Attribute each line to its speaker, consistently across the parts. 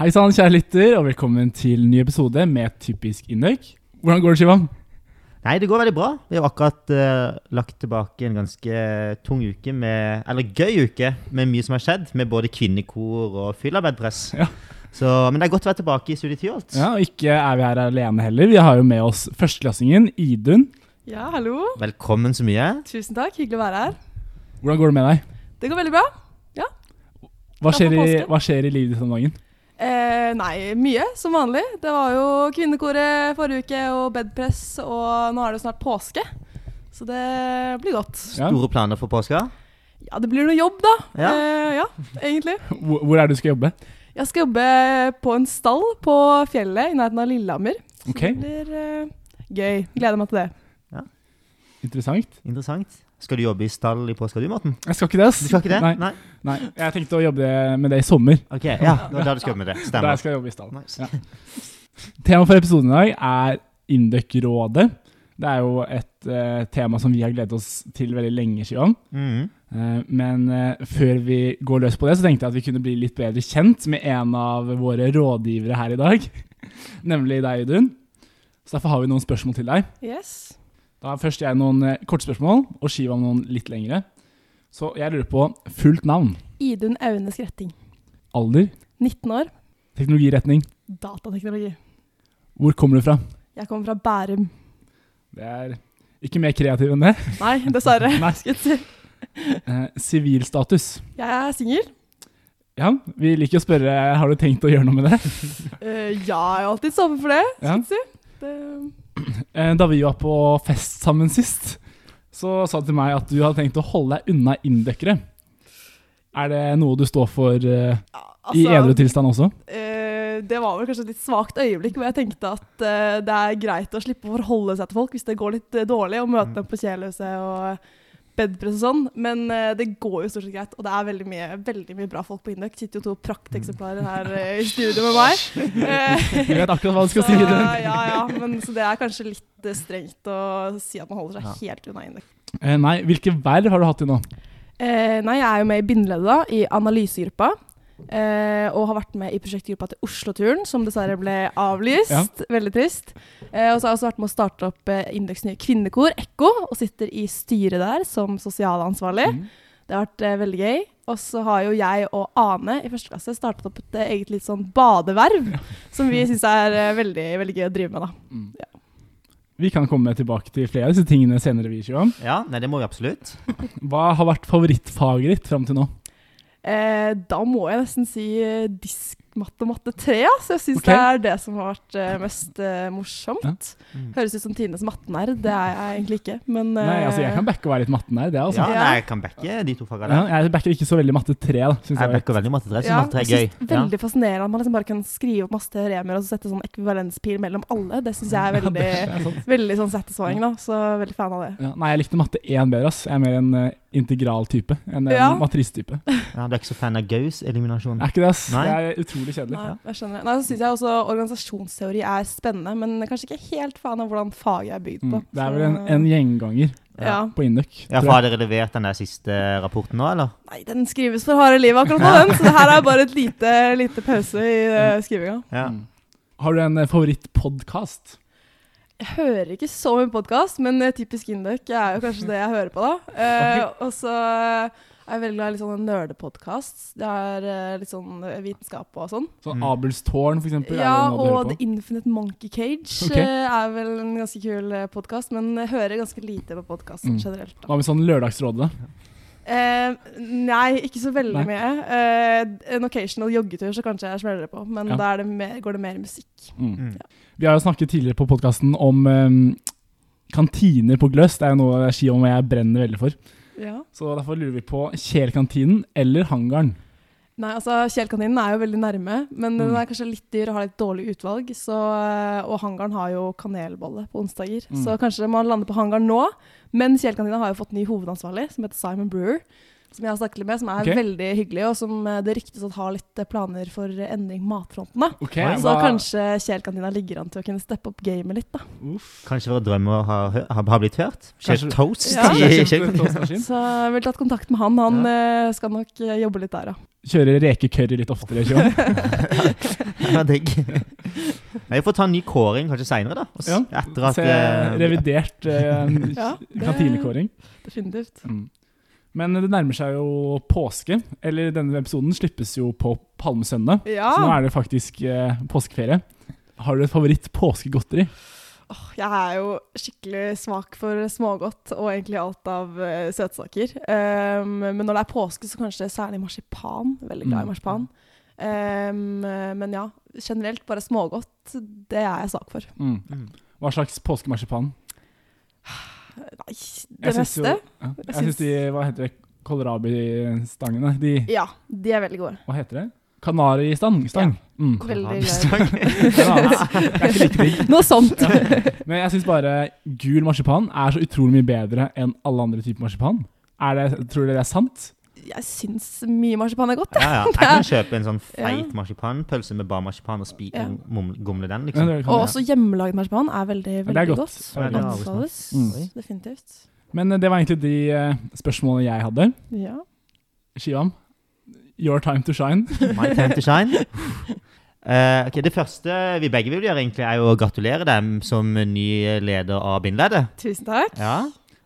Speaker 1: Hei sann, kjære lytter, og velkommen til ny episode med Typisk Indøk. Hvordan går det, Shivan?
Speaker 2: Nei, det går veldig bra. Vi har akkurat eh, lagt tilbake en ganske tung uke med Eller gøy uke med mye som har skjedd, med både kvinnekor og fyllabeddpress.
Speaker 1: Ja.
Speaker 2: Så, Men det er godt å være tilbake i Studietyolt.
Speaker 1: Ja, og ikke er vi her alene heller. Vi har jo med oss førsteklassingen Idun.
Speaker 3: Ja, hallo.
Speaker 2: Velkommen så mye.
Speaker 3: Tusen takk. Hyggelig å være her.
Speaker 1: Hvordan går det med deg?
Speaker 3: Det går veldig bra.
Speaker 1: Hva
Speaker 3: Takk
Speaker 1: skjer, i,
Speaker 3: for påsken.
Speaker 1: hva skjer i livet ditt om dagen?
Speaker 3: Eh, nei, mye som vanlig. Det var jo kvinnekoret forrige uke og bedpress, og nå er det jo snart påske. Så det blir godt.
Speaker 1: Ja.
Speaker 2: Store planer for påska.
Speaker 3: Ja, det blir noe jobb, da.
Speaker 2: Ja.
Speaker 3: Eh, ja egentlig.
Speaker 1: Hvor hvor er det du skal jobbe?
Speaker 3: Jeg skal jobbe på en stall på fjellet i nærheten av Lillehammer. Så
Speaker 1: Ok.
Speaker 3: det blir eh, gøy. Gleder meg til det.
Speaker 1: Interessant.
Speaker 2: Interessant. Skal du jobbe i stall i påska du, Morten?
Speaker 1: Jeg skal ikke det, ass.
Speaker 2: Du skal ikke det?
Speaker 1: Nei,
Speaker 2: Nei.
Speaker 1: nei. Jeg tenkte å jobbe med det i sommer.
Speaker 2: Ok, ja, det var da du skal jobbe med det.
Speaker 1: Da
Speaker 2: Stemmer.
Speaker 1: jeg skal jobbe i stallen.
Speaker 2: Nice.
Speaker 1: Ja. Temaet for episoden i dag er Indøk-rådet. Det er jo et eh, tema som vi har gledet oss til veldig lenge, Shivan.
Speaker 2: Mhm.
Speaker 1: Eh, Men eh, før vi går løs på det, så tenkte jeg at vi kunne bli litt bedre kjent med en av våre rådgivere her i dag, nemlig deg, Idun. Så derfor har vi noen spørsmål til deg.
Speaker 3: Yes.
Speaker 1: Da har først jeg noen eh, korte spørsmål, og Shiva noen litt lengre. Så jeg lurer på fullt navn,
Speaker 3: Idun Aune Skretting.
Speaker 1: alder,
Speaker 3: 19 år.
Speaker 1: teknologiretning.
Speaker 3: Datateknologi.
Speaker 1: Hvor kommer du fra?
Speaker 3: Jeg kommer fra Bærum.
Speaker 1: Det er ikke mer kreativ enn det.
Speaker 3: Nei, dessverre.
Speaker 1: Nei.
Speaker 3: Skulle jeg si.
Speaker 1: Eh, Sivilstatus.
Speaker 3: Jeg er singel.
Speaker 1: ja, vi liker å spørre har du tenkt å gjøre noe med det.
Speaker 3: Eh, ja, jeg er alltid åpen for det.
Speaker 1: Ja.
Speaker 3: skal jeg si. det
Speaker 1: Eh, Da vi var på fest sammen sist, så sa du til meg at du hadde tenkt å holde deg unna inndøkkere. Er det noe du står for eh, i edru tilstand også?
Speaker 3: altså, eh, det var vel kanskje et litt svakt øyeblikk hvor jeg tenkte at eh, det er greit å slippe å forholde seg til folk hvis det går litt eh, dårlig, og
Speaker 1: Mm.
Speaker 3: møte dem på kjelhuset og bedpress og sånn. Men eh, det går jo stort sett greit, og det er veldig mye, veldig mye bra folk på Indøk. Det sitter jo to prakteksemplarer her eh, i studio med meg. Eh,
Speaker 1: Du vet akkurat hva du Mm. skal
Speaker 3: så,
Speaker 1: si. i den.
Speaker 3: ja, ja, men, så det er kanskje litt eh, strengt å si at man holder seg helt unna Indøk.
Speaker 1: Eh, Nei, hvilke verv har du hatt til nå?
Speaker 3: Eh, nei, jeg er jo med i bindeleddet da, i analysegruppa. Eh, og har vært med i prosjektgruppa til Osloturen, som dessverre ble avlyst.
Speaker 1: Ja.
Speaker 3: Veldig trist. Eh, og så har jeg også vært med å starte opp eh, Indeks nye kvinnekor, Ekko, og sitter i styret der som sosialansvarlig.
Speaker 1: Mm.
Speaker 3: Det har vært eh, veldig gøy. Og så har jo jeg og Ane i første klasse startet opp et eh, eget litt sånn badeverv, som vi syns er eh, veldig, veldig gøy å drive med, da.
Speaker 1: Mm. Vi kan komme tilbake til flere av disse tingene senere. vi Shivam.
Speaker 2: Ja, nei, det må vi absolutt.
Speaker 1: Hva har vært favorittfaget ditt fram til nå?
Speaker 3: Eh, da må jeg nesten si eh, diskmatte matte 3. Ja. Så jeg syns
Speaker 1: Ok.
Speaker 3: det er det som har vært eh, mest eh, morsomt.
Speaker 2: Mm.
Speaker 3: Høres ut som tidenes mattenerd. Det er jeg egentlig ikke, men
Speaker 1: Nei,
Speaker 3: eh,
Speaker 1: altså, Jeg kan backe å være litt matten her. det er altså.
Speaker 2: Ja,
Speaker 1: ja.
Speaker 2: nei, jeg kan backe de to fagene.
Speaker 1: Jeg backer ikke så veldig matte 3. Da, synes
Speaker 2: Jeg
Speaker 1: jeg.
Speaker 2: backer veldig matte 3, så
Speaker 3: ja,
Speaker 2: matte 3 er
Speaker 3: jeg
Speaker 2: gøy.
Speaker 3: synes det er Veldig fascinerende at man liksom bare kan skrive opp masse teoremer og så sette sånn ekvivalenspil mellom alle. Det syns jeg er veldig,
Speaker 1: Det er sant.
Speaker 3: veldig sånn satisfying, da. Så veldig fan av det.
Speaker 1: Ja, nei, jeg likte matte 1 bedre. ass. Jeg er mer en eh, integral type enn en
Speaker 3: Ja.
Speaker 1: matristype.
Speaker 2: Ja, du er ikke så fan av Gauss-eliminasjon?
Speaker 1: Er ikke det, ass?
Speaker 2: Mm. Nei.
Speaker 1: Det er utrolig kjedelig.
Speaker 3: Nei, jeg skjønner. Nei, så syns jeg også organisasjonsteori er spennende, men kanskje ikke helt fan av hvordan faget er bygd
Speaker 1: Mm.
Speaker 3: på.
Speaker 1: Det er
Speaker 3: Så-
Speaker 1: vel en, en gjenganger
Speaker 3: ja.
Speaker 1: på Induk.
Speaker 2: Ja,
Speaker 1: tror
Speaker 2: for
Speaker 1: jeg.
Speaker 2: Har dere levert den der siste rapporten nå, eller?
Speaker 3: Nei, den skrives for harde livet akkurat nå, den. Så det her er bare et lite, lite pause i uh, skrivinga.
Speaker 2: Ja.
Speaker 1: Mm. Har du en eh, favorittpodkast?
Speaker 3: Jeg hører ikke så mye podkast, men eh, typisk Induk er jo kanskje det jeg hører på, da. Eh, og så er jeg veldig glad i litt sånn nerdepodkast. Det er eh, litt sånn eh, vitenskap og sånn.
Speaker 1: Sånn
Speaker 2: Mm.
Speaker 1: Abelstårn, for eksempel? er
Speaker 3: Ja,
Speaker 1: det noe du
Speaker 3: og
Speaker 1: hører
Speaker 3: The
Speaker 1: på?
Speaker 3: Infinite Monkey Cage
Speaker 1: Ok.
Speaker 3: eh, er vel en ganske kul podkast, men jeg hører ganske lite på podkast
Speaker 1: Mm.
Speaker 3: generelt. da.
Speaker 1: Hva med sånn Lørdagsrådet? da?
Speaker 3: Eh, nei, ikke så veldig
Speaker 1: Nei.
Speaker 3: mye. Eh, en occasional joggetur, så kanskje jeg smeller det på. Men
Speaker 1: Ja.
Speaker 3: da er det mer, går det mer musikk.
Speaker 1: Mm.
Speaker 2: Mm.
Speaker 1: Vi har jo snakket tidligere på podkasten om eh, kantiner på Gløs. Det er jo noe Shion og jeg brenner veldig for.
Speaker 3: Ja.
Speaker 1: Så derfor lurer vi på Kjelkantinen eller Hangaren.
Speaker 3: Nei, altså Kjelkantinen er jo veldig nærme, men den
Speaker 1: Mm.
Speaker 3: er kanskje litt dyr og har litt dårlig utvalg. Så, eh, og hangaren har jo kanelbolle på onsdager,
Speaker 1: Mm.
Speaker 3: så kanskje man lander på hangaren nå. Men Kjelkantina har jo fått ny hovedansvarlig, som heter Simon Brewer. som jeg har snakket litt med, som er
Speaker 1: Ok.
Speaker 3: veldig hyggelig, og som eh, det ryktes at har litt eh, planer for eh, endring på matfronten. da.
Speaker 1: Ok,
Speaker 2: Oi,
Speaker 3: Så
Speaker 1: hva-
Speaker 3: kanskje Kjelkantina ligger an til å kunne steppe opp gamet litt, da.
Speaker 1: Uff.
Speaker 2: Kanskje våre drømmer har, hø- har, har blitt hørt? Skjer
Speaker 1: Kanskje-
Speaker 2: toast
Speaker 3: Ja.
Speaker 1: Kanskje
Speaker 2: i
Speaker 1: jeg kjøper en
Speaker 2: kjøkkenet?
Speaker 1: toastmaskin?
Speaker 3: Så jeg vil tatt kontakt med han. Han eh, skal nok eh, jobbe litt der, ja.
Speaker 1: Kjører rekecurry litt oftere, ikke sant?
Speaker 2: Ja, digg. Nei, Vi får ta en ny kåring kanskje seinere, da. Og s-
Speaker 1: Ja.
Speaker 2: Etter at
Speaker 1: Se
Speaker 2: eh,
Speaker 1: revidert eh,
Speaker 3: Ja, det-
Speaker 1: kantinekåring.
Speaker 3: Definitivt.
Speaker 1: Mm. Men det nærmer seg jo påske. Eller denne episoden slippes jo på palmesøndag,
Speaker 3: Ja.
Speaker 1: så nå er det faktisk eh, påskeferie. Har du et favoritt påskegodteri?
Speaker 3: Åh, Jeg er jo skikkelig svak for smågodt og egentlig alt av eh, søtsaker. Um, men når det er påske, så kanskje særlig marsipan. Veldig glad
Speaker 1: Mm.
Speaker 3: i marsipan. Um, men ja, generelt bare smågodt. Det er jeg svak for.
Speaker 1: Mm.
Speaker 2: Mm.
Speaker 1: Hva slags påskemarsipan?
Speaker 3: Nei, det
Speaker 1: Jeg syns jo-
Speaker 3: meste.
Speaker 1: Ja, jeg
Speaker 3: syns-
Speaker 1: syns de Hva heter det? Kålrabistangene? De
Speaker 3: Ja, de er veldig gode.
Speaker 1: Hva heter det? Kanaristang? Stang. Mm.
Speaker 3: Veldig glad.
Speaker 2: Kålrabi-stang.
Speaker 1: Det er noe annet. Det er ikke like digg.
Speaker 3: i- Noe sånt.
Speaker 1: Men jeg syns bare gul marsipan er så utrolig mye bedre enn alle andre typer marsipan. Er det, tror dere det er sant?
Speaker 3: Jeg syns mye marsipan er godt.
Speaker 2: Ja, ja. Jeg kan kjøpe en sånn feit
Speaker 3: Ja.
Speaker 2: marsipanpølse med bare marsipan og spi
Speaker 3: Ja.
Speaker 2: mum- gomle den,
Speaker 1: Ja,
Speaker 2: liksom.
Speaker 1: det kan jeg.
Speaker 3: Og også hjemmelagd marsipan er veldig,
Speaker 1: Ja, det er
Speaker 3: veldig
Speaker 1: godt.
Speaker 3: godt.
Speaker 2: Ja, det er
Speaker 3: Anbefales.
Speaker 1: Mm.
Speaker 2: Oi.
Speaker 3: Definitivt.
Speaker 1: Men eh, det var egentlig de eh, spørsmålene jeg hadde.
Speaker 3: Ja.
Speaker 1: Shivam, your time to shine.
Speaker 2: My time to shine. Eh, ok, det første vi begge vil gjøre, egentlig, er jo å gratulere dem som ny leder av Bindledet.
Speaker 3: Tusen takk.
Speaker 2: Ja.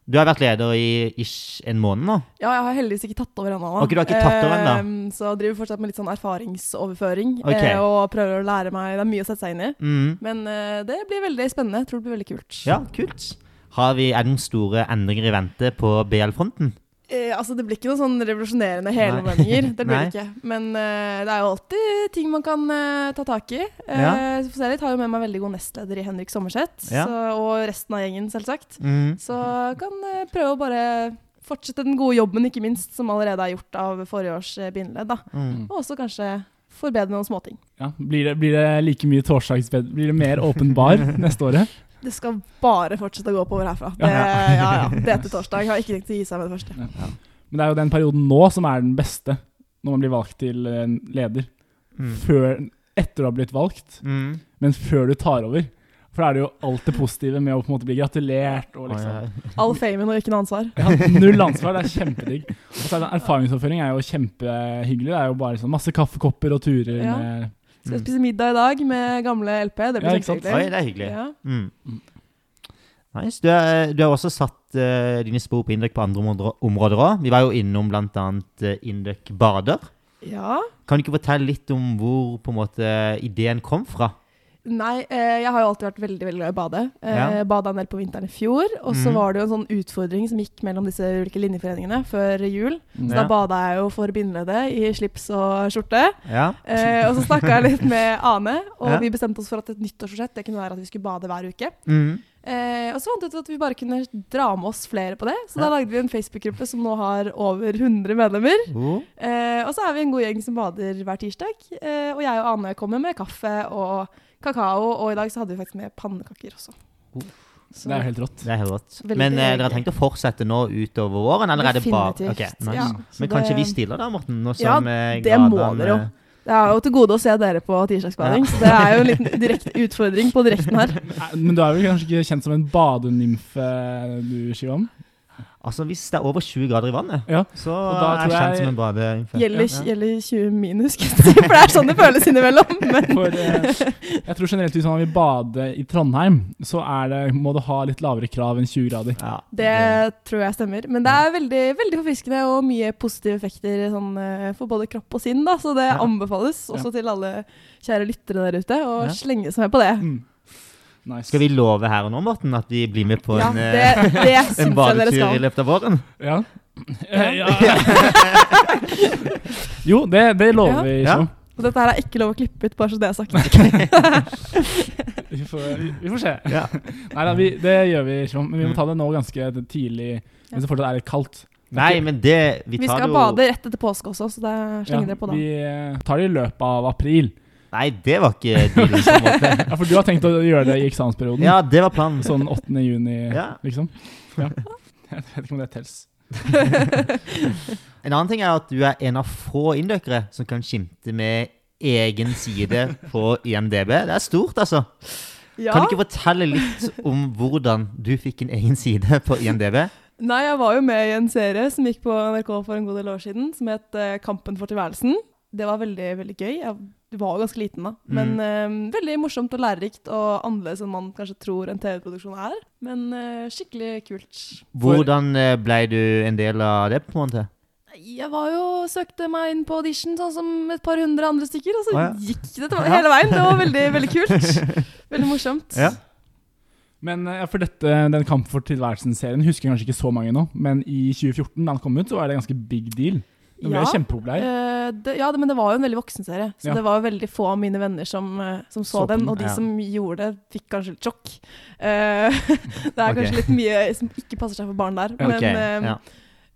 Speaker 2: Du har vært leder i ish en måned nå.
Speaker 3: Ja, jeg har heldigvis ikke tatt over ennå. da.
Speaker 2: Ok, du har ikke tatt over ennå.
Speaker 3: Ehm, så jeg driver fortsatt med litt sånn erfaringsoverføring
Speaker 2: Ok.
Speaker 3: eh, og prøver å lære meg Det er mye å sette seg inn i.
Speaker 2: Mm.
Speaker 3: Men eh, det blir veldig spennende. Jeg tror det blir veldig kult.
Speaker 2: Ja, kult. Har vi, er det noen store endringer i vente på BL-fronten?
Speaker 3: Eh, altså, det blir ikke noen sånn revolusjonerende
Speaker 2: Nei.
Speaker 3: helomvendinger. Det blir
Speaker 2: Nei.
Speaker 3: det ikke. Men eh, det er jo alltid ting man kan eh, ta tak i. Eh,
Speaker 2: Ja.
Speaker 3: så får vi se litt. Har jo med meg veldig god nestleder i Henrik Sommerseth.
Speaker 2: Ja.
Speaker 3: Så, og resten av gjengen, selvsagt.
Speaker 2: Mm.
Speaker 3: Så kan eh, prøve å bare fortsette den gode jobben, ikke minst, som allerede er gjort av forrige års eh, bindeledd. da.
Speaker 2: Mm.
Speaker 3: Og også kanskje forbedre noen småting.
Speaker 1: Ja, blir, det, blir det like mye torsdagsbed? Blir det mer åpen bar neste året?
Speaker 3: Det skal bare fortsette å gå oppover herfra. Det,
Speaker 2: Ja.
Speaker 3: ja, ja. det er til torsdag. Jeg har ikke tenkt å gi seg med det første.
Speaker 1: Men det er jo den perioden nå som er den beste, når man blir valgt til eh, leder.
Speaker 2: Mm.
Speaker 1: Før, etter du har blitt valgt,
Speaker 2: Mm.
Speaker 1: men før du tar over. For da er det jo alt det positive med å på en måte bli gratulert og
Speaker 2: Å, ja.
Speaker 1: liksom
Speaker 3: All famen og ikke noe ansvar.
Speaker 1: ja, Null ansvar, det er kjempedigg. Og så er det erfaringsoverføring er jo kjempehyggelig. Det er jo bare sånn masse kaffekopper og turer
Speaker 3: Ja.
Speaker 1: med
Speaker 3: Skal
Speaker 2: Mm.
Speaker 3: jeg spise middag i dag med gamle LP. Det
Speaker 1: Ja,
Speaker 3: blir
Speaker 1: ikke sant?
Speaker 2: Oi,
Speaker 3: kjempehyggelig.
Speaker 2: det er hyggelig.
Speaker 3: Ja.
Speaker 2: Mm.
Speaker 1: Mm.
Speaker 2: Nice. Du, er, du har også satt eh, dine spor på Indøk på andre områder- områder òg. Vi var jo innom bl.a. Uh, Indøk bader.
Speaker 3: ja.
Speaker 2: Kan du ikke fortelle litt om hvor på en måte, ideen kom fra?
Speaker 3: Nei, eh, jeg har jo alltid vært veldig veldig glad i å bade. Eh,
Speaker 2: Ja.
Speaker 3: Bada en del på vinteren i fjor. Og så
Speaker 2: Mhm.
Speaker 3: var det jo en sånn utfordring som gikk mellom disse ulike linjeforeningene før jul. Så
Speaker 2: Ja.
Speaker 3: da bada jeg jo for bindeleddet i slips og skjorte.
Speaker 2: Ja.
Speaker 3: Eh, og så snakka jeg litt med Ane, og
Speaker 2: Ja.
Speaker 3: vi bestemte oss for at et nyttårsforsett det kunne være at vi skulle bade hver uke.
Speaker 2: Mm.
Speaker 3: Eh, og så fant vi ut at vi bare kunne dra med oss flere på det, så da
Speaker 2: Ja.
Speaker 3: lagde vi en Facebook-gruppe som nå har over 100 medlemmer.
Speaker 2: Oh.
Speaker 3: Eh, og så er vi en god gjeng som bader hver tirsdag, eh, og jeg og Ane kommer med kaffe og kakao, og i dag så hadde vi faktisk med pannekaker også.
Speaker 2: Oh.
Speaker 1: Det er jo helt rått.
Speaker 2: Det er helt rått.
Speaker 3: Veldig
Speaker 2: Men eh, dere
Speaker 3: hyggelig.
Speaker 2: har tenkt å fortsette nå utover våren? Eller er det bare
Speaker 3: Definitivt,
Speaker 2: Ok, nice.
Speaker 3: ja. Så
Speaker 2: Men kanskje
Speaker 3: det-
Speaker 2: vi stiller da, Morten? Nå
Speaker 3: Ja,
Speaker 2: som, eh,
Speaker 3: det må
Speaker 2: gradene-
Speaker 3: dere jo. Det er jo til gode å se dere på tirsdagsbading, så det er jo en liten direkte utfordring på direkten her.
Speaker 1: Men du er vel kanskje ikke kjent som en badenymfe, du, Shivam?
Speaker 2: Altså, Hvis det er over 20 grader i vannet,
Speaker 1: Ja.
Speaker 2: så
Speaker 1: Og da
Speaker 2: er jeg
Speaker 1: tror
Speaker 2: kjent
Speaker 1: jeg-
Speaker 2: som en badeinfekt.
Speaker 3: Gjelder, gjelder 20 minus, skulle jeg si, for det er sånn det føles innimellom. Men
Speaker 1: For eh, jeg tror generelt hvis man vil bade i Trondheim, så er det, må du ha litt lavere krav enn 20 grader.
Speaker 2: Ja,
Speaker 3: Det tror jeg stemmer. Men det er veldig, veldig forfriskende og mye positive effekter sånn, eh, for både kropp og sinn. Da, så
Speaker 2: Ja.
Speaker 3: det anbefales også til alle kjære lyttere der ute å
Speaker 2: Ja.
Speaker 3: slenge seg med på det.
Speaker 1: Mm. Nice.
Speaker 2: Skal vi love her og nå, Morten, at vi blir med på
Speaker 3: Ja,
Speaker 2: en,
Speaker 3: det,
Speaker 2: eh,
Speaker 3: det
Speaker 2: en
Speaker 3: syns jeg dere
Speaker 2: badetur i
Speaker 3: skal.
Speaker 2: løpet av våren?
Speaker 1: Ja. Eh, ja. jo, det, det lover
Speaker 3: Ja.
Speaker 1: vi,
Speaker 2: Ja.
Speaker 1: Shivam.
Speaker 3: Og dette her er ikke lov å klippe ut, bare så det er sagt.
Speaker 1: Vi, får- vi- vi får se.
Speaker 2: Ja.
Speaker 1: Neida, vi, det gjør vi, Shivam. Men vi må ta det nå ganske tidlig,
Speaker 3: Ja.
Speaker 1: hvis det fortsatt er litt kaldt.
Speaker 2: Nei, men det Vi,
Speaker 3: Vi
Speaker 2: tar det
Speaker 3: skal
Speaker 2: jo
Speaker 3: bade rett etter påske også, så det slenger dere på da.
Speaker 1: vi eh, tar det i løpet av april.
Speaker 2: Nei, det var ikke dealen som måte.
Speaker 1: Ja, For du har tenkt å gjøre det i eksamensperioden?
Speaker 2: Ja, det var planen.
Speaker 1: Sånn 8. juni,
Speaker 2: Ja.
Speaker 1: liksom? Ja. Jeg vet ikke om det tels.
Speaker 2: En annen ting er at du er en av få indøkere som kan skimte med egen side på IMDb. Det er stort, altså.
Speaker 3: Ja.
Speaker 2: Kan du ikke fortelle litt om hvordan du fikk en egen side på IMDb?
Speaker 3: Nei, jeg var jo med i en serie som gikk på NRK for en god del år siden, som het eh, Kampen for tilværelsen. Det var veldig, veldig gøy. Jeg var jo ganske liten da, men
Speaker 2: Mm.
Speaker 3: eh, veldig morsomt og lærerikt og annerledes enn man kanskje tror en TV-produksjon er. Men eh, skikkelig kult.
Speaker 2: Hvordan eh, ble du en del av det, på en måte?
Speaker 3: Nei, Jeg var jo, søkte meg inn på audition sånn som et par hundre andre stykker, og så
Speaker 2: Å, ja.
Speaker 3: gikk det til- hele veien. Det var veldig, veldig kult. Veldig morsomt.
Speaker 2: Ja.
Speaker 1: Men eh, for dette, den Kamp for tilværelsen-serien husker jeg kanskje ikke så mange nå, men i 2014, da den kom ut, så var det en ganske big deal. Den ble
Speaker 3: Ja.
Speaker 1: kjempepopulær.
Speaker 3: Eh, det, ja, det- men det var jo en veldig voksen serie, så
Speaker 1: Ja.
Speaker 3: det var jo veldig få av mine venner som, eh, som så,
Speaker 1: Så på
Speaker 3: den,
Speaker 1: den,
Speaker 3: og de
Speaker 2: ja.
Speaker 3: som gjorde det, fikk kanskje litt sjokk. Eh, det er
Speaker 2: Ok.
Speaker 3: kanskje litt mye som ikke passer seg for barn der, men,
Speaker 2: Ok,
Speaker 3: eh,
Speaker 2: ja.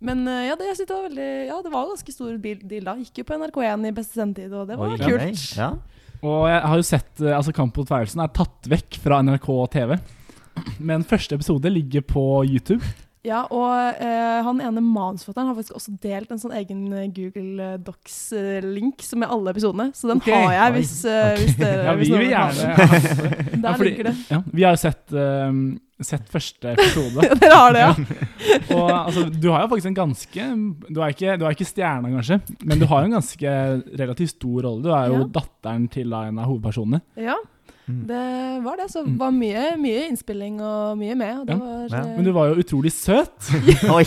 Speaker 3: men eh, ja, det, jeg synes det var veldig, ja, det var jo ganske stor bil- deal da. Gikk jo på NRK1 i beste sendetid, og det var
Speaker 2: Oi,
Speaker 3: kult.
Speaker 2: ok, Ja.
Speaker 1: Og jeg har jo sett eh, altså Kamp for tilværelsen er tatt vekk fra NRK og TV. Men første episode ligger på YouTube.
Speaker 3: Ja, og eh, han ene manusforfatteren har faktisk også delt en sånn egen eh, Google Docs-link som er alle episodene, så den
Speaker 1: Ok.
Speaker 3: har jeg
Speaker 2: Oi.
Speaker 3: hvis, eh, hvis dere
Speaker 1: Ja,
Speaker 3: hvis
Speaker 1: vi
Speaker 3: noen
Speaker 1: vil
Speaker 3: vil ha
Speaker 1: gjerne
Speaker 3: den.
Speaker 1: ha det.
Speaker 3: Der
Speaker 1: Ja, fordi-
Speaker 3: ligger det.
Speaker 1: Ja, vi har jo sett, eh, sett første episode.
Speaker 3: dere har det, ja?
Speaker 1: Og altså, du har jo faktisk en ganske Du er ikke, du er ikke stjerna, kanskje, men du har jo en ganske relativt stor rolle. Du er jo
Speaker 3: Ja.
Speaker 1: datteren til en av hovedpersonene.
Speaker 3: Ja,
Speaker 2: Mm.
Speaker 3: det var det. Så
Speaker 1: Mm.
Speaker 3: det var mye, mye innspilling og mye med. Og det
Speaker 1: Ja,
Speaker 3: var,
Speaker 2: ja.
Speaker 3: eh,
Speaker 1: Men du var jo utrolig søt.
Speaker 2: Oi.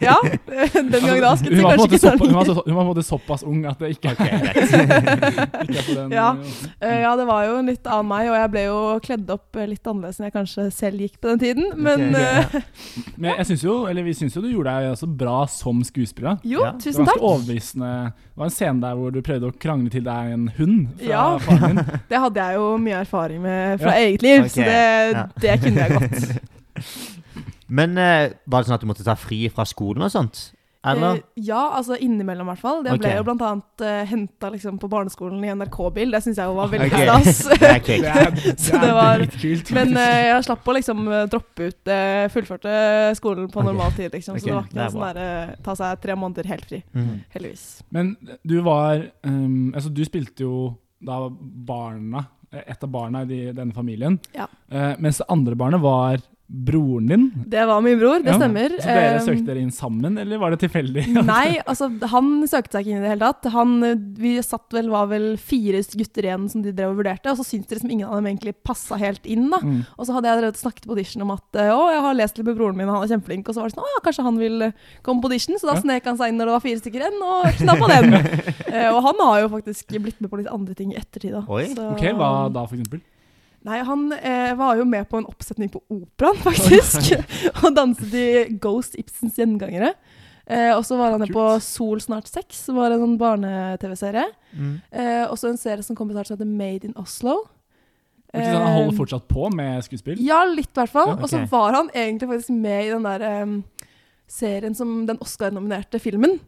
Speaker 3: ja, den gang da
Speaker 1: Altså,
Speaker 3: skulle
Speaker 1: Hun
Speaker 3: det
Speaker 1: var på en
Speaker 3: kanskje
Speaker 1: måte
Speaker 3: ikke
Speaker 1: såpa- hun
Speaker 3: sånn.
Speaker 1: var så- hun var på en måte såpass ung at det ikke er,
Speaker 2: Ok, greit.
Speaker 1: ikke er på den
Speaker 3: Ja.
Speaker 1: eh,
Speaker 3: Eh, Ja, det var jo en litt annen meg, og jeg ble jo kledd opp eh, litt annerledes enn jeg kanskje selv gikk på den tiden. Men
Speaker 2: Ok,
Speaker 3: eh,
Speaker 2: ja.
Speaker 1: Men jeg synes jo, eller vi syns jo du gjorde deg også bra som skuespiller. da.
Speaker 3: jo,
Speaker 2: Ja,
Speaker 1: Det
Speaker 3: tusen
Speaker 1: var ganske
Speaker 3: takk.
Speaker 1: overbevisende. Det var en scene der hvor du prøvde å krangle til deg en hund fra
Speaker 3: Ja.
Speaker 1: faren din.
Speaker 3: Det hadde jeg jo mye erfaring med fra
Speaker 1: Ja.
Speaker 3: eget liv,
Speaker 2: Ok,
Speaker 3: så det,
Speaker 2: ja.
Speaker 3: det kunne jeg godt.
Speaker 2: Men eh, var det sånn at du måtte ta fri fra skolen og sånt? Eller?
Speaker 3: Eh, ja, altså innimellom i hvert fall. Jeg ble
Speaker 2: Ok.
Speaker 3: jo blant annet uh, henta liksom, på barneskolen i NRK-bil. Det syns jeg jo var veldig
Speaker 2: Ok.
Speaker 3: stas.
Speaker 2: Det er
Speaker 1: Det
Speaker 2: kult.
Speaker 1: er, det
Speaker 3: Så det
Speaker 1: er
Speaker 3: var-
Speaker 1: dritkult.
Speaker 3: Men eh, jeg slapp å liksom eh, droppe ut eh, fullførte skolen på
Speaker 2: Ok.
Speaker 3: normal tid, liksom.
Speaker 2: Ok,
Speaker 3: Så det var ikke
Speaker 2: det er
Speaker 3: noe sånn der eh, ta seg tre måneder helt fri.
Speaker 2: Mhm.
Speaker 3: Heldigvis.
Speaker 1: Men du var ehm, Altså, du spilte jo da barna Et av barna i de, denne familien.
Speaker 3: Ja.
Speaker 1: Eh, mens det andre barnet var broren din.
Speaker 3: Det var min bror, det
Speaker 1: Ja.
Speaker 3: stemmer.
Speaker 1: Så dere
Speaker 3: Eh,
Speaker 1: søkte dere inn sammen, eller var det tilfeldig?
Speaker 3: Nei, altså han søkte seg ikke inn i det hele tatt. Han, eh, vi satt vel, var vel fire gutter igjen som de drev og vurderte, og så syntes det liksom ingen av dem egentlig passa helt inn. da.
Speaker 1: Mm.
Speaker 3: Og så hadde jeg drevet og snakket på audition om at eh, å, jeg har lest litt med broren min, og han er kjempeflink. Og så var det sånn, å ja, kanskje han vil eh, komme på audition. Så da
Speaker 1: Ja.
Speaker 3: snek han seg inn når det var fire stykker igjen, og knappa den. Eh, og han har jo faktisk blitt med på litt andre ting i ettertid. da.
Speaker 2: Oi.
Speaker 3: Så-
Speaker 1: Ok, hva da, for eksempel?
Speaker 3: Nei, han eh, var jo med på en oppsetning på operaen, faktisk. og danset i Ghost Ibsens Gjengangere. Eh, og så var han med på
Speaker 1: Kult.
Speaker 3: Sol snart sex, som var en sånn barne-TV-serie.
Speaker 2: Mhm.
Speaker 3: Eh, og så en serie som kom ut her som heter Made in Oslo.
Speaker 1: Ikke sant, sånn, han holder
Speaker 3: Eh,
Speaker 1: fortsatt på med skuespill?
Speaker 3: ja, litt i hvert fall.
Speaker 1: Ja,
Speaker 2: ok.
Speaker 3: Og så var han egentlig faktisk med i den der em, serien som den Oscar-nominerte filmen.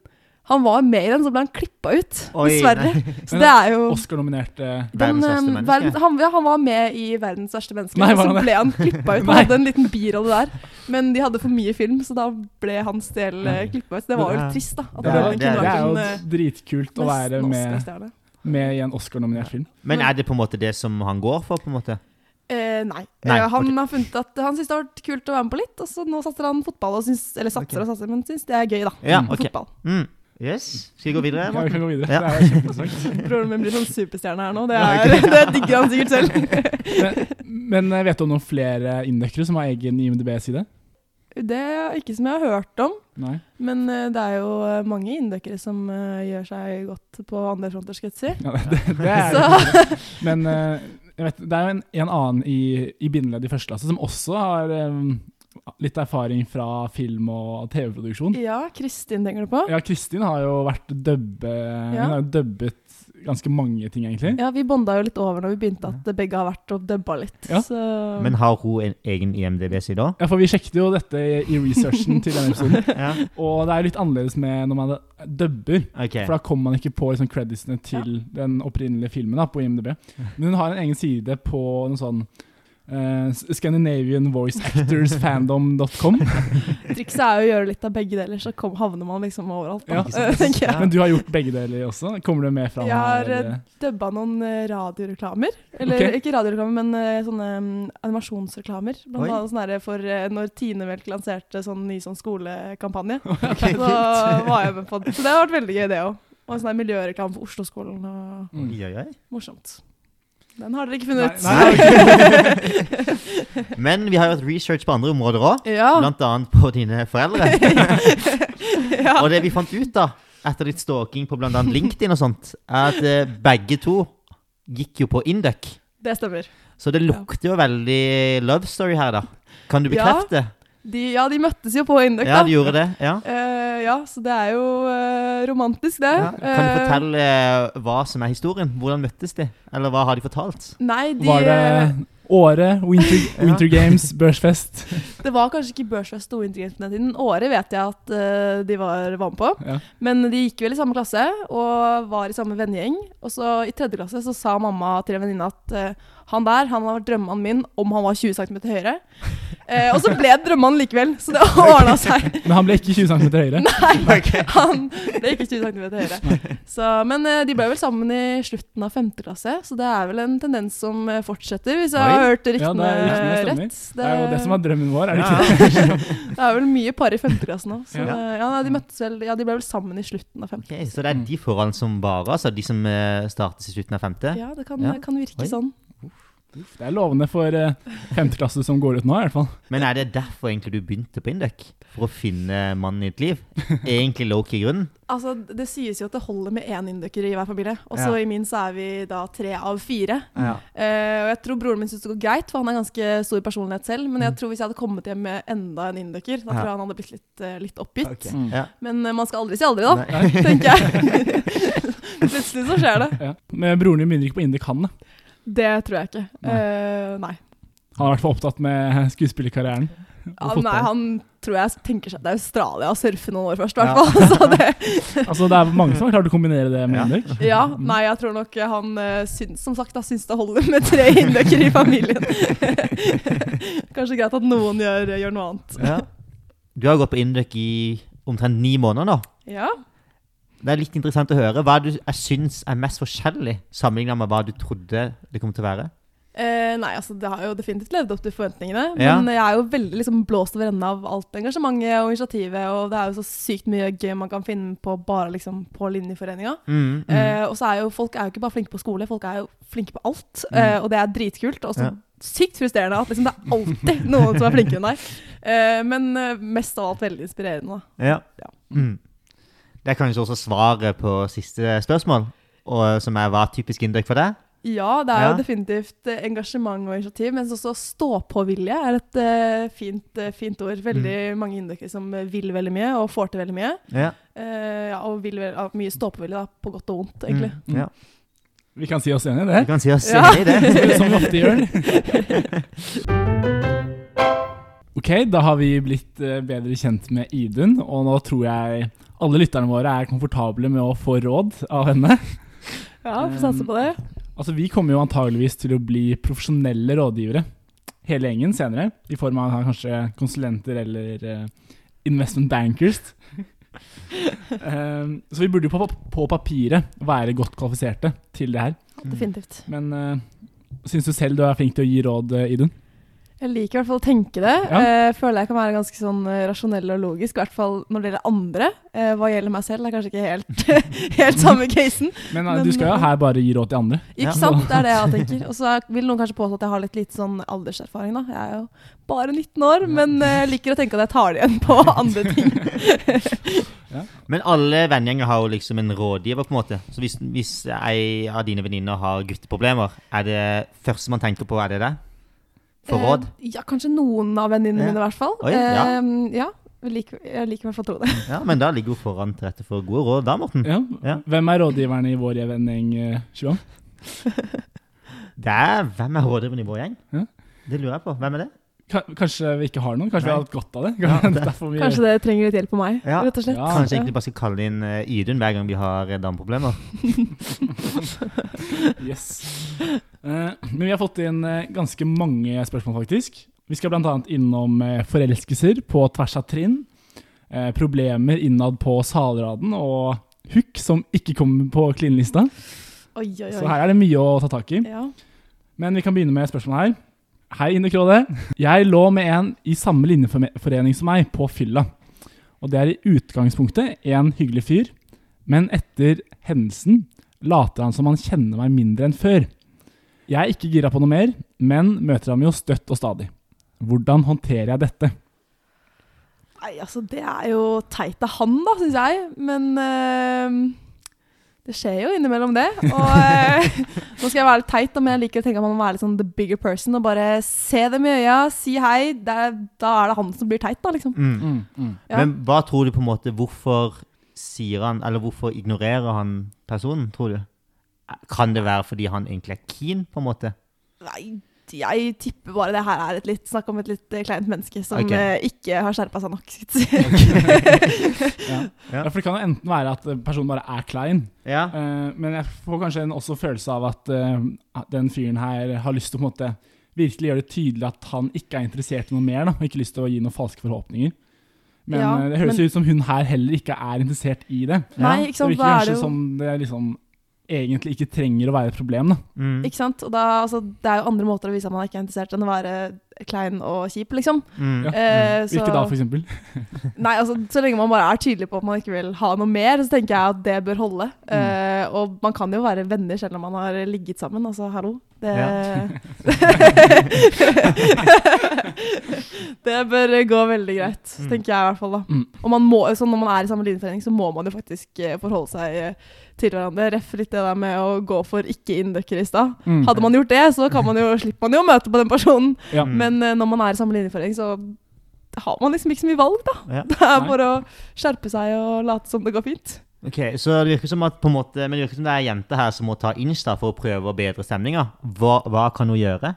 Speaker 3: Han var med i den, så ble han klippa ut,
Speaker 2: Oi,
Speaker 3: dessverre.
Speaker 2: nei.
Speaker 3: Så det er jo
Speaker 1: Oscar-nominerte
Speaker 2: Verdens verste
Speaker 3: em,
Speaker 2: menneske.
Speaker 3: verdens- han, ja, han var med i 'Verdens verste menneske',
Speaker 1: Nei,
Speaker 3: og
Speaker 1: var
Speaker 3: så
Speaker 1: han det?
Speaker 3: ble han klippa ut. Han
Speaker 1: Nei.
Speaker 3: hadde en liten birolle der, men de hadde for mye film, så da ble hans del eh, klippa ut. Det var jo
Speaker 2: Ja.
Speaker 3: litt trist, da. At
Speaker 1: det,
Speaker 2: Ja,
Speaker 1: er-
Speaker 3: han
Speaker 1: det,
Speaker 3: kunne
Speaker 1: er
Speaker 3: vært
Speaker 1: jo
Speaker 3: en, eh,
Speaker 1: dritkult å være
Speaker 3: nesten
Speaker 1: med,
Speaker 3: Oscar-stjerne.
Speaker 1: med i en Oscar-nominert film.
Speaker 2: Men er det på en måte det som han går for, på en måte?
Speaker 3: Eh, nei.
Speaker 2: Nei,
Speaker 3: Eh, han
Speaker 2: ok.
Speaker 3: har funnet at han syns det har vært kult å være med på litt, og så nå satser han fotball, og syns, eller satser
Speaker 2: Ok.
Speaker 3: og satser, men syns det er gøy, da.
Speaker 2: Ja,
Speaker 1: Mm.
Speaker 2: ok.
Speaker 3: Fotball.
Speaker 2: Mm. Yes. Skal vi gå videre?
Speaker 1: Ja, vi
Speaker 2: Morten?
Speaker 1: kan gå videre.
Speaker 2: Ja.
Speaker 1: Det er kjempeinteressant.
Speaker 3: Broren min blir sånn superstjerne her nå. Det, er, det digger han sikkert selv.
Speaker 1: Men, men vet du om noen flere inndøkkere som har egen IMDb-side?
Speaker 3: Det er ikke som jeg har hørt om,
Speaker 1: Nei?
Speaker 3: men eh, det er jo eh, mange inndøkkere som eh, gjør seg godt på andre fronter, skal jeg si.
Speaker 1: Ja, det, det er
Speaker 3: Så
Speaker 1: Men eh, jeg vet, det er jo en, en annen i, i bindeleddet i første klasse som også har eh, litt erfaring fra film- og TV-produksjon.
Speaker 3: ja, Kristin tenker du på?
Speaker 1: Ja, Kristin har jo vært dubbe,
Speaker 3: Ja.
Speaker 1: Hun har jo dubbet ganske mange ting, egentlig.
Speaker 3: Ja, vi bonda jo litt over når vi begynte at begge har vært og dubba litt.
Speaker 1: Ja.
Speaker 3: Så
Speaker 2: Men har hun en egen IMDb-side òg?
Speaker 1: Ja, for Vi sjekket jo dette i i researchen til denne episoden,
Speaker 2: Ja.
Speaker 1: og det er jo litt annerledes med når man dubber.
Speaker 2: Ok.
Speaker 1: For da kommer man ikke på liksom, creditsene til den opprinnelige filmen da, på IMDb. Men hun har en egen side på noe sånn eh, s- ScandinavianVoiceActorsFandom.com.
Speaker 3: Trikset er jo å gjøre litt av begge deler, så kom, havner man liksom overalt. Da,
Speaker 1: Ja.
Speaker 3: tenker jeg.
Speaker 1: Men du har gjort begge deler også? Kommer du med fra
Speaker 3: Jeg har
Speaker 1: her, eh?
Speaker 3: eh, dubba noen eh, radioreklamer. Eller
Speaker 1: Ok.
Speaker 3: ikke radioreklamer, men eh, sånne mm, animasjonsreklamer. Blant
Speaker 2: Oi.
Speaker 3: annet sånne her for eh, når Tinemelk lanserte sånn ny sånn skolekampanje.
Speaker 2: Okay,
Speaker 3: Så var jeg med på det. Så det har vært veldig gøy, det òg. Og en sånn her miljøreklame for Oslo-skolen. og
Speaker 1: Mm.
Speaker 2: Oi, oi, oi.
Speaker 3: Morsomt. Den har dere ikke funnet ut.
Speaker 1: Nei,
Speaker 2: Men vi har gjort research på andre områder òg,
Speaker 3: Ja.
Speaker 2: blant annet på dine foreldre.
Speaker 3: ja.
Speaker 2: Og det vi fant ut da, etter litt stalking på bl.a. LinkedIn og sånt, er at eh, begge to gikk jo på Induc.
Speaker 3: Det stemmer.
Speaker 2: Så det lukter jo veldig love story her, da. Kan du
Speaker 3: Ja.
Speaker 2: bekrefte?
Speaker 3: De, ja, de møttes jo på Induc,
Speaker 2: Ja,
Speaker 3: da.
Speaker 2: du gjorde det? Ja.
Speaker 3: Eh, ja, så det er jo eh, romantisk, det.
Speaker 2: ja. Kan du
Speaker 3: Eh,
Speaker 2: fortelle eh, hva som er historien? Hvordan møttes de? Eller hva har de fortalt?
Speaker 3: Nei, de, eh,
Speaker 1: Var det Åre, Winter, Winter Games, Børsfest?
Speaker 3: Det var kanskje ikke Børsfest og Wintergames på den tiden. Året vet jeg at eh, de var, var med på.
Speaker 1: Ja.
Speaker 3: Men de gikk vel i samme klasse og var i samme vennegjeng. Og så i tredje klasse så sa mamma til en venninne at eh, han der han har vært drømmemannen min om han var 20 cm høyere. Eh, og så ble drømmemannen likevel, så det ordna seg.
Speaker 1: Men han ble ikke 20 cm høyere.
Speaker 3: Nei, han ble ikke 20 cm høyere. Så, men eh, de ble vel sammen i slutten av femte klasse, så det er vel en tendens som eh, fortsetter, hvis jeg har
Speaker 2: Oi.
Speaker 3: hørt
Speaker 1: Ja,
Speaker 3: ryktene
Speaker 1: det er ryktene stemmer.
Speaker 3: rett.
Speaker 1: Det er jo det som er drømmen vår, er det
Speaker 2: Ja,
Speaker 1: ikke?
Speaker 3: Det er vel mye par i femteklassen òg.
Speaker 1: Ja.
Speaker 3: Ja. eh, Ja, nei, de møttes vel- ja, de ble vel sammen i slutten av femte.
Speaker 2: Ok, så det er de forholdene som varer, altså de som eh, startes i slutten av femte?
Speaker 3: Ja, det kan,
Speaker 2: Ja.
Speaker 3: kan virke
Speaker 2: Oi.
Speaker 3: sånn.
Speaker 1: Uff, Det er lovende for eh, femteklasse som går ut nå, i hvert fall.
Speaker 2: Men er det derfor egentlig du begynte på Induc? For å finne mannen i ditt liv? Egentlig low-key grunnen?
Speaker 3: Altså, Det sies jo at det holder med én induker i hver familie. Og så
Speaker 2: Ja.
Speaker 3: i min så er vi da tre av fire.
Speaker 2: Ja.
Speaker 3: Eh, og jeg tror broren min syns det går greit, for han er ganske stor personlighet selv. Men
Speaker 2: Mm.
Speaker 3: jeg tror hvis jeg hadde kommet hjem med enda en induker, da tror jeg
Speaker 2: Ja.
Speaker 3: han hadde blitt litt, eh, litt oppgitt.
Speaker 1: Mm.
Speaker 2: Ja.
Speaker 3: Men eh, man skal aldri si aldri, da.
Speaker 2: Nei.
Speaker 3: Tenker jeg. Plutselig så skjer det.
Speaker 1: Ja. Men broren din begynner ikke på Indic, han. da.
Speaker 3: Det tror jeg ikke.
Speaker 1: Nei.
Speaker 3: Eh, nei.
Speaker 1: Han er i hvert fall opptatt med skuespillerkarrieren.
Speaker 3: Ja,
Speaker 1: fotball.
Speaker 3: nei, han tror jeg tenker seg til Australia og surfe noen år først, i
Speaker 2: Ja.
Speaker 3: hvert fall. Så det,
Speaker 1: Altså, det er mange som har klart å kombinere det med
Speaker 2: Ja.
Speaker 1: Indic.
Speaker 3: ja,
Speaker 2: Mm.
Speaker 3: nei, jeg tror nok han eh, syns, som sagt, da, syns det holder med tre innøkker i familien. Kanskje greit at noen gjør, gjør noe annet.
Speaker 2: Ja. Du har gått på Induc i omtrent ni måneder nå.
Speaker 3: Ja.
Speaker 2: Det er litt interessant å høre. Hva er det du jeg syns er mest forskjellig sammenlignet med hva du trodde det kom til å være?
Speaker 3: Eh, nei, altså det har jo definitivt levd opp til forventningene.
Speaker 2: Ja.
Speaker 3: Men jeg er jo veldig liksom, blåst over ende av alt engasjementet og initiativet. Og det er jo så sykt mye gøy man kan finne på bare liksom, på linjeforeninga.
Speaker 2: Mm.
Speaker 3: Eh, og så er jo folk er jo ikke bare flinke på skole, folk er jo flinke på alt. Eh, og det er dritkult. Og så
Speaker 2: Mm. Ja.
Speaker 3: sykt frustrerende at liksom, det er alltid noen som er flinkere enn deg. Eh, men eh, mest av alt veldig inspirerende. da.
Speaker 2: Ja.
Speaker 3: Ja.
Speaker 2: Mm. Det er kanskje også svaret på siste spørsmål, og, som er hva er typisk Induc for deg?
Speaker 3: Ja, det er
Speaker 2: Ja.
Speaker 3: jo definitivt eh, engasjement og initiativ, men også stå-på-vilje er et eh, fint, eh, fint ord. Veldig
Speaker 2: Mm.
Speaker 3: mange indokere som eh, vil veldig mye og får til veldig mye.
Speaker 2: Ja.
Speaker 3: Eh, ja, og vil, vel- ja, mye stå-på-vilje, da, på godt og vondt, egentlig.
Speaker 2: Mm. Ja.
Speaker 1: Vi kan si oss enig i det.
Speaker 2: Du kan si oss
Speaker 3: Ja.
Speaker 2: enig i det.
Speaker 1: Som vi ofte gjør. Ok, da har vi blitt eh, bedre kjent med Idun, og nå tror jeg alle lytterne våre er komfortable med å få råd av henne.
Speaker 3: Ja, får
Speaker 1: Um,
Speaker 3: satse på det.
Speaker 1: Altså, Vi kommer jo antageligvis til å bli profesjonelle rådgivere, hele gjengen senere, i form av kanskje konsulenter eller eh, investment bankers. Eh, så vi burde jo på, på papiret være godt kvalifiserte til det her.
Speaker 2: Mm.
Speaker 3: Definitivt.
Speaker 1: Men uh, syns du selv du er flink til å gi råd, eh, Idun?
Speaker 3: Jeg liker i hvert fall å tenke det.
Speaker 1: Ja.
Speaker 3: Eh, føler jeg kan være ganske sånn eh, rasjonell og logisk, i hvert fall når det gjelder andre. Eh, hva gjelder meg selv, er kanskje ikke helt, helt samme casen.
Speaker 1: Men, eh,
Speaker 3: Men,
Speaker 1: du skal jo
Speaker 3: eh,
Speaker 1: her bare gi råd til andre.
Speaker 3: Ikke
Speaker 2: Ja.
Speaker 3: sant? Det er det jeg tenker. Og så er- vil noen kanskje påstå at jeg har litt lite sånn alderserfaring, da. Jeg er jo bare 19 år, men eh, liker å tenke at jeg tar det igjen på andre ting.
Speaker 2: Men alle vennegjenger har jo liksom en rådgiver, på en måte. Så hvis, hvis ei av dine venninner har gutteproblemer, er det første man tenker på, er det det? For råd?
Speaker 3: Eh, ja, kanskje noen av
Speaker 2: Ja.
Speaker 3: venninnene mine, i hvert fall.
Speaker 2: Oi, ja.
Speaker 3: Eh, ja. Jeg liker, jeg liker i hvert fall å tro det.
Speaker 2: Ja, men da ligger hun foran til rette for gode råd da, Morten.
Speaker 1: Ja.
Speaker 2: Ja.
Speaker 1: Hvem er rådgiverne i vår gjeng, eh, Sjuan?
Speaker 2: Det er, hvem er rådgiveren i vår gjeng?
Speaker 1: Ja.
Speaker 2: Det lurer jeg på. Hvem er det?
Speaker 1: Ka- Kanskje vi ikke har noen? Kanskje vi har hatt godt av det?
Speaker 2: Ja, det-
Speaker 1: Derfor vi,
Speaker 3: Kanskje dere trenger litt hjelp av meg,
Speaker 2: Ja.
Speaker 3: rett og slett.
Speaker 1: Ja.
Speaker 2: Kanskje egentlig bare skal kalle inn eh, Idun hver gang vi har eh, dameproblemer.
Speaker 1: Yes. Eh, men vi har fått inn eh, ganske mange spørsmål, faktisk. Vi skal bl.a. innom eh, forelskelser på tvers av trinn, eh, problemer innad på salraden og hook som ikke kommer på klinelista.
Speaker 3: Oi, oi, oi.
Speaker 1: Så her er det mye å ta tak i.
Speaker 3: Ja.
Speaker 1: Men vi kan begynne med spørsmålet her. Hei, Ine Kråde. Jeg lå med en i samme linjeforening som meg på fylla. Og det er i utgangspunktet en hyggelig fyr, men etter hendelsen later han som han kjenner meg mindre enn før. Jeg er ikke gira på noe mer, men møter ham jo støtt og stadig. Hvordan håndterer jeg dette?
Speaker 3: Nei, altså, det er jo teit av han, da, syns jeg. Men eh, det skjer jo innimellom, det. Og eh, nå skal jeg være litt teit, da, men jeg liker å tenke at man må være litt sånn the bigger person og bare se dem i øya, si hei. Det er, da er det han som blir teit, da, liksom.
Speaker 2: Mm.
Speaker 3: Ja.
Speaker 2: Men hva tror du på en måte Hvorfor sier han Eller hvorfor ignorerer han personen, tror du? Kan det være fordi han egentlig er keen, på en måte?
Speaker 3: Nei, jeg tipper bare det her er et litt snakk om et litt eh, kleint menneske som
Speaker 2: Ok.
Speaker 3: eh, ikke har skjerpa seg nok. skal jeg si.
Speaker 1: Ja, for det kan jo enten være at eh, personen bare er klein,
Speaker 2: Ja.
Speaker 1: Eh, men jeg får kanskje en også følelse av at eh, at den fyren her har lyst til å på en måte virkelig gjøre det tydelig at han ikke er interessert i noe mer, da, og ikke lyst til å gi noen falske forhåpninger. Men
Speaker 3: Ja,
Speaker 1: eh, det høres
Speaker 3: men-
Speaker 1: ut som hun her heller ikke er interessert i det.
Speaker 3: Nei,
Speaker 2: Ja,
Speaker 3: ikke
Speaker 1: Så det
Speaker 3: sant.
Speaker 1: virker
Speaker 3: Da er det
Speaker 1: kanskje
Speaker 3: jo
Speaker 1: som det liksom egentlig ikke trenger å være et problem, da.
Speaker 2: Mm.
Speaker 3: ikke sant? Og da, altså, Det er jo andre måter å vise at man ikke er interessert, enn å være klein og kjip, liksom.
Speaker 2: Mm.
Speaker 1: Ja.
Speaker 3: Eh, så,
Speaker 1: Hvilket da, for eksempel?
Speaker 3: nei, altså, så lenge man bare er tydelig på at man ikke vil ha noe mer, så tenker jeg at det bør holde. Eh, og man kan jo være venner selv om man har ligget sammen. Altså, hallo. Det, det bør gå veldig greit,
Speaker 2: Mm.
Speaker 3: tenker jeg i hvert fall. da.
Speaker 1: Mm.
Speaker 3: Og man må, så når man er i samme linjeforening, så må man jo faktisk eh, forholde seg eh, til hverandre. Ref litt det der med å gå for ikke-inndøkker i stad.
Speaker 1: Mm.
Speaker 3: Hadde man gjort det, så kan man jo, slipper man jo å møte på den personen.
Speaker 1: Ja.
Speaker 2: Mm.
Speaker 3: Men eh, når man er i samme linjeføring, så har man liksom ikke så mye valg, da.
Speaker 2: Ja.
Speaker 3: Det er
Speaker 1: Nei.
Speaker 3: bare å skjerpe seg og late som det går fint.
Speaker 2: Ok, så det virker som at på en måte, men det virker som det er jenter her som må ta insta for å prøve å bedre stemninga. Hva, hva kan hun gjøre?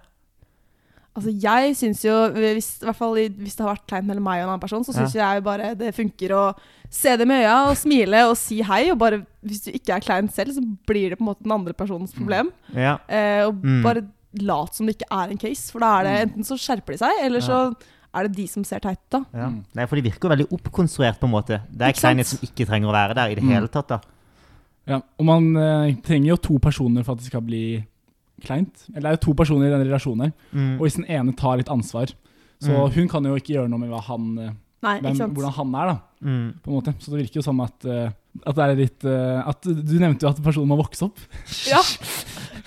Speaker 3: Altså, jeg syns jo, hvis, i hvert fall i- hvis det har vært kleint mellom meg og en annen person, så syns jeg bare det funker å se dem i øya og smile og si hei. Og bare, hvis du ikke er klein selv, så blir det på en måte den andre
Speaker 1: Mm.
Speaker 3: personens problem.
Speaker 2: Ja.
Speaker 3: Eh, og
Speaker 2: Mm.
Speaker 3: bare lat som det ikke er en case, for da er det
Speaker 1: Mm.
Speaker 3: enten så skjerper de seg, eller så er det de som ser teit ut, da.
Speaker 2: ja.
Speaker 1: Mm.
Speaker 2: Nei, for de virker jo veldig oppkonstruert, på en måte. Det er
Speaker 3: Ikke sant?
Speaker 2: kleinhet som ikke trenger å være der i det
Speaker 1: Mm.
Speaker 2: hele tatt. da.
Speaker 1: Ja. Og man eh, trenger jo to personer for at det skal bli kleint. Eller det er jo to personer i den relasjonen her,
Speaker 2: Mm.
Speaker 1: og hvis den ene tar litt ansvar Så
Speaker 2: Mm.
Speaker 1: hun kan jo ikke gjøre noe med hva han, eh,
Speaker 3: Nei, ikke
Speaker 1: hvem,
Speaker 3: sant?
Speaker 1: hvordan han er, da.
Speaker 2: Mm.
Speaker 1: på en måte. Så det virker jo som at, eh, at det er litt eh, at Du nevnte jo at personen må vokse opp.
Speaker 3: Ja.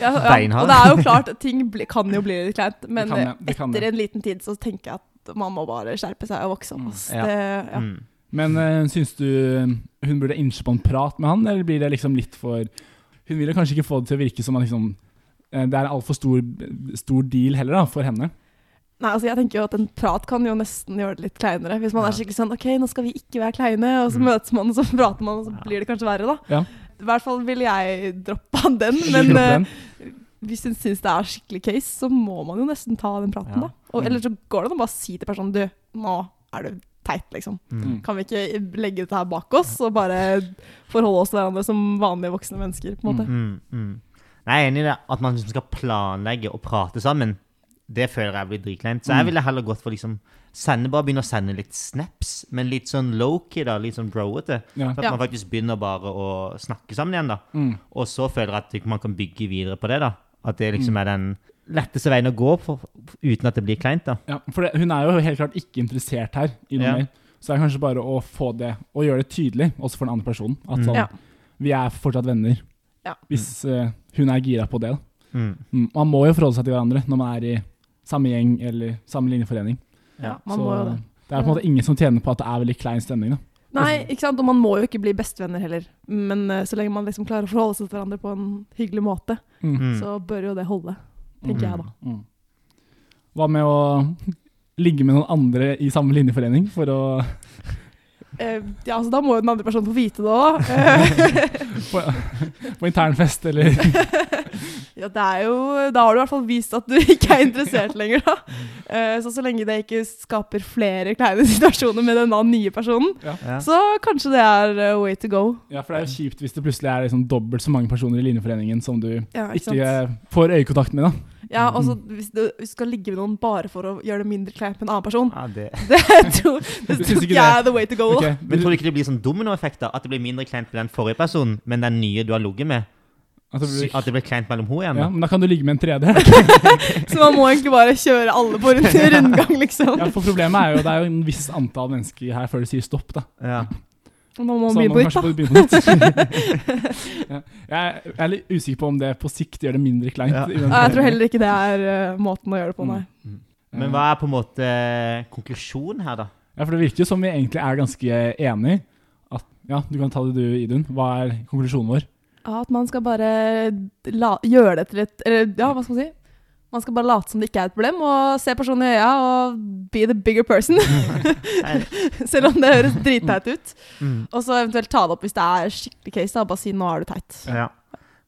Speaker 3: ja, ja.
Speaker 2: Beinhard.
Speaker 3: Og det er jo klart, ting bli, kan jo bli litt kleint, men
Speaker 1: Det kan det, det kan
Speaker 3: etter
Speaker 1: det.
Speaker 3: en liten tid så tenker jeg at man må bare skjerpe seg og vokse opp. ass.
Speaker 2: Mm, ja.
Speaker 3: Det- ja.
Speaker 2: Mm.
Speaker 1: Men uh, syns du eh, hun burde innse på en prat med han, eller blir det liksom litt for Hun vil jo kanskje ikke få det til å virke som at liksom, eh, det er en altfor stor, stor deal heller, da, for henne.
Speaker 3: Nei, altså jeg tenker jo at En prat kan jo nesten gjøre det litt kleinere. Hvis man er
Speaker 2: Ja.
Speaker 3: skikkelig sånn OK, nå skal vi ikke være kleine, og så
Speaker 2: Mm.
Speaker 3: møtes man, og så prater man, og
Speaker 2: Ja.
Speaker 3: så blir det kanskje verre, da.
Speaker 1: Ja.
Speaker 3: I hvert fall ville jeg droppa den,
Speaker 1: Vil du
Speaker 3: men
Speaker 1: droppe
Speaker 3: eh,
Speaker 1: den?
Speaker 3: hvis hun syns det er skikkelig case, så må man jo nesten ta den praten,
Speaker 2: Ja.
Speaker 3: da.
Speaker 1: Mm.
Speaker 3: Og, eller så går det an å bare si til personen Du, nå er du teit, liksom.
Speaker 2: Mm.
Speaker 3: Kan vi ikke legge dette her bak oss og bare forholde oss til hverandre som vanlige voksne mennesker? på en måte?
Speaker 2: Mm. Mm. Nei, jeg er enig i det. At man liksom skal planlegge og prate sammen. Det føler jeg blir dritkleint. Så
Speaker 1: Mm.
Speaker 2: jeg ville heller gått for liksom sende, bare begynne å sende litt snaps, men litt sånn low-key, da. Litt sånn broete.
Speaker 1: Ja.
Speaker 2: For at
Speaker 3: Ja.
Speaker 2: man faktisk begynner bare å snakke sammen igjen, da.
Speaker 1: Mm.
Speaker 2: Og så føler jeg at man kan bygge videre på det, da. At det liksom er den letteste veien å gå for, uten at det blir kleint, da.
Speaker 1: Ja, for det, hun er jo helt klart ikke interessert her i noe
Speaker 2: Ja.
Speaker 1: mer. Så det er kanskje bare å få det, og gjøre det tydelig, også for den andre personen, at
Speaker 2: Mm.
Speaker 1: sånn,
Speaker 3: Ja.
Speaker 1: vi er fortsatt venner.
Speaker 3: Ja.
Speaker 1: Hvis eh, hun er gira på det. da.
Speaker 2: Mm.
Speaker 1: Mm, Man må jo forholde seg til hverandre når man er i samme gjeng eller samme linjeforening.
Speaker 2: Ja.
Speaker 3: Man
Speaker 1: Så
Speaker 3: må jo det.
Speaker 1: det er på en måte ingen som tjener på at det er veldig klein stemning. Da.
Speaker 3: Nei, ikke sant? Og man må jo ikke bli bestevenner heller. Men eh, så lenge man liksom klarer å forholde seg til hverandre på en hyggelig måte,
Speaker 1: Mm.
Speaker 2: Mm.
Speaker 3: så bør jo det holde.
Speaker 1: Mm.
Speaker 3: Tenker jeg, da.
Speaker 1: Mm. Hva med å ligge med noen andre i samme linjeforening for å
Speaker 3: Eh, ja, altså Da må jo den andre personen få vite det òg.
Speaker 1: på, på internfest eller
Speaker 3: Ja, det er jo, da har du i hvert fall vist at du ikke er interessert lenger, da. Eh, så så lenge det ikke skaper flere kleine situasjoner med denne nye personen,
Speaker 2: Ja.
Speaker 3: så kanskje det er eh, way to go.
Speaker 1: Ja, for det er jo kjipt hvis det plutselig er liksom dobbelt så mange personer i Lineforeningen som du
Speaker 3: Ja,
Speaker 1: ikke eh, får øyekontakt med, da.
Speaker 3: Ja, og så hvis du hvis du skal ligge med noen bare for å gjøre det mindre kleint med en annen person,
Speaker 2: Ja, det.
Speaker 3: det tror, det
Speaker 1: Du synes
Speaker 3: tror
Speaker 1: ikke
Speaker 3: ikke jeg er the way to go. da.
Speaker 1: Ok,
Speaker 2: Men tror du ikke det blir sånn dominoeffekt? da? At det blir mindre kleint med den forrige personen, men den nye du har ligget med,
Speaker 1: at det blir-
Speaker 2: at det blir kleint mellom henne igjen?
Speaker 1: altså, ja,
Speaker 2: da?
Speaker 1: men da kan du ligge med en tredje.
Speaker 3: Så man må egentlig bare kjøre alle på rund- rundgang, liksom.
Speaker 1: Ja, for problemet er jo det er jo en viss antall mennesker her før du sier stopp, da.
Speaker 2: Ja.
Speaker 3: Og Nå må
Speaker 1: Så
Speaker 3: man
Speaker 1: da
Speaker 3: begynne på nytt,
Speaker 1: kanskje
Speaker 3: da.
Speaker 1: begynne på nytt. ja. Jeg er litt usikker på om det på sikt gjør det mindre kleint.
Speaker 2: Ja.
Speaker 1: i den-
Speaker 3: Nei, Jeg tror heller ikke det er eh, måten å gjøre det på, nei.
Speaker 2: Men hva er på en måte konklusjonen her, da?
Speaker 1: Ja, for det virker jo som vi egentlig er ganske enige. At, ja, du kan ta det du, Idun. Hva er konklusjonen vår?
Speaker 3: Ja, at man skal bare eh, la, gjøre det til et Eller ja, hva skal man si? Man skal bare late som det ikke er et problem, og se personen i øya og be the bigger person. Selv om det høres dritteit ut. Og så eventuelt ta det opp hvis det er skikkelig case, da. Bare si 'nå er du teit'.
Speaker 2: Ja.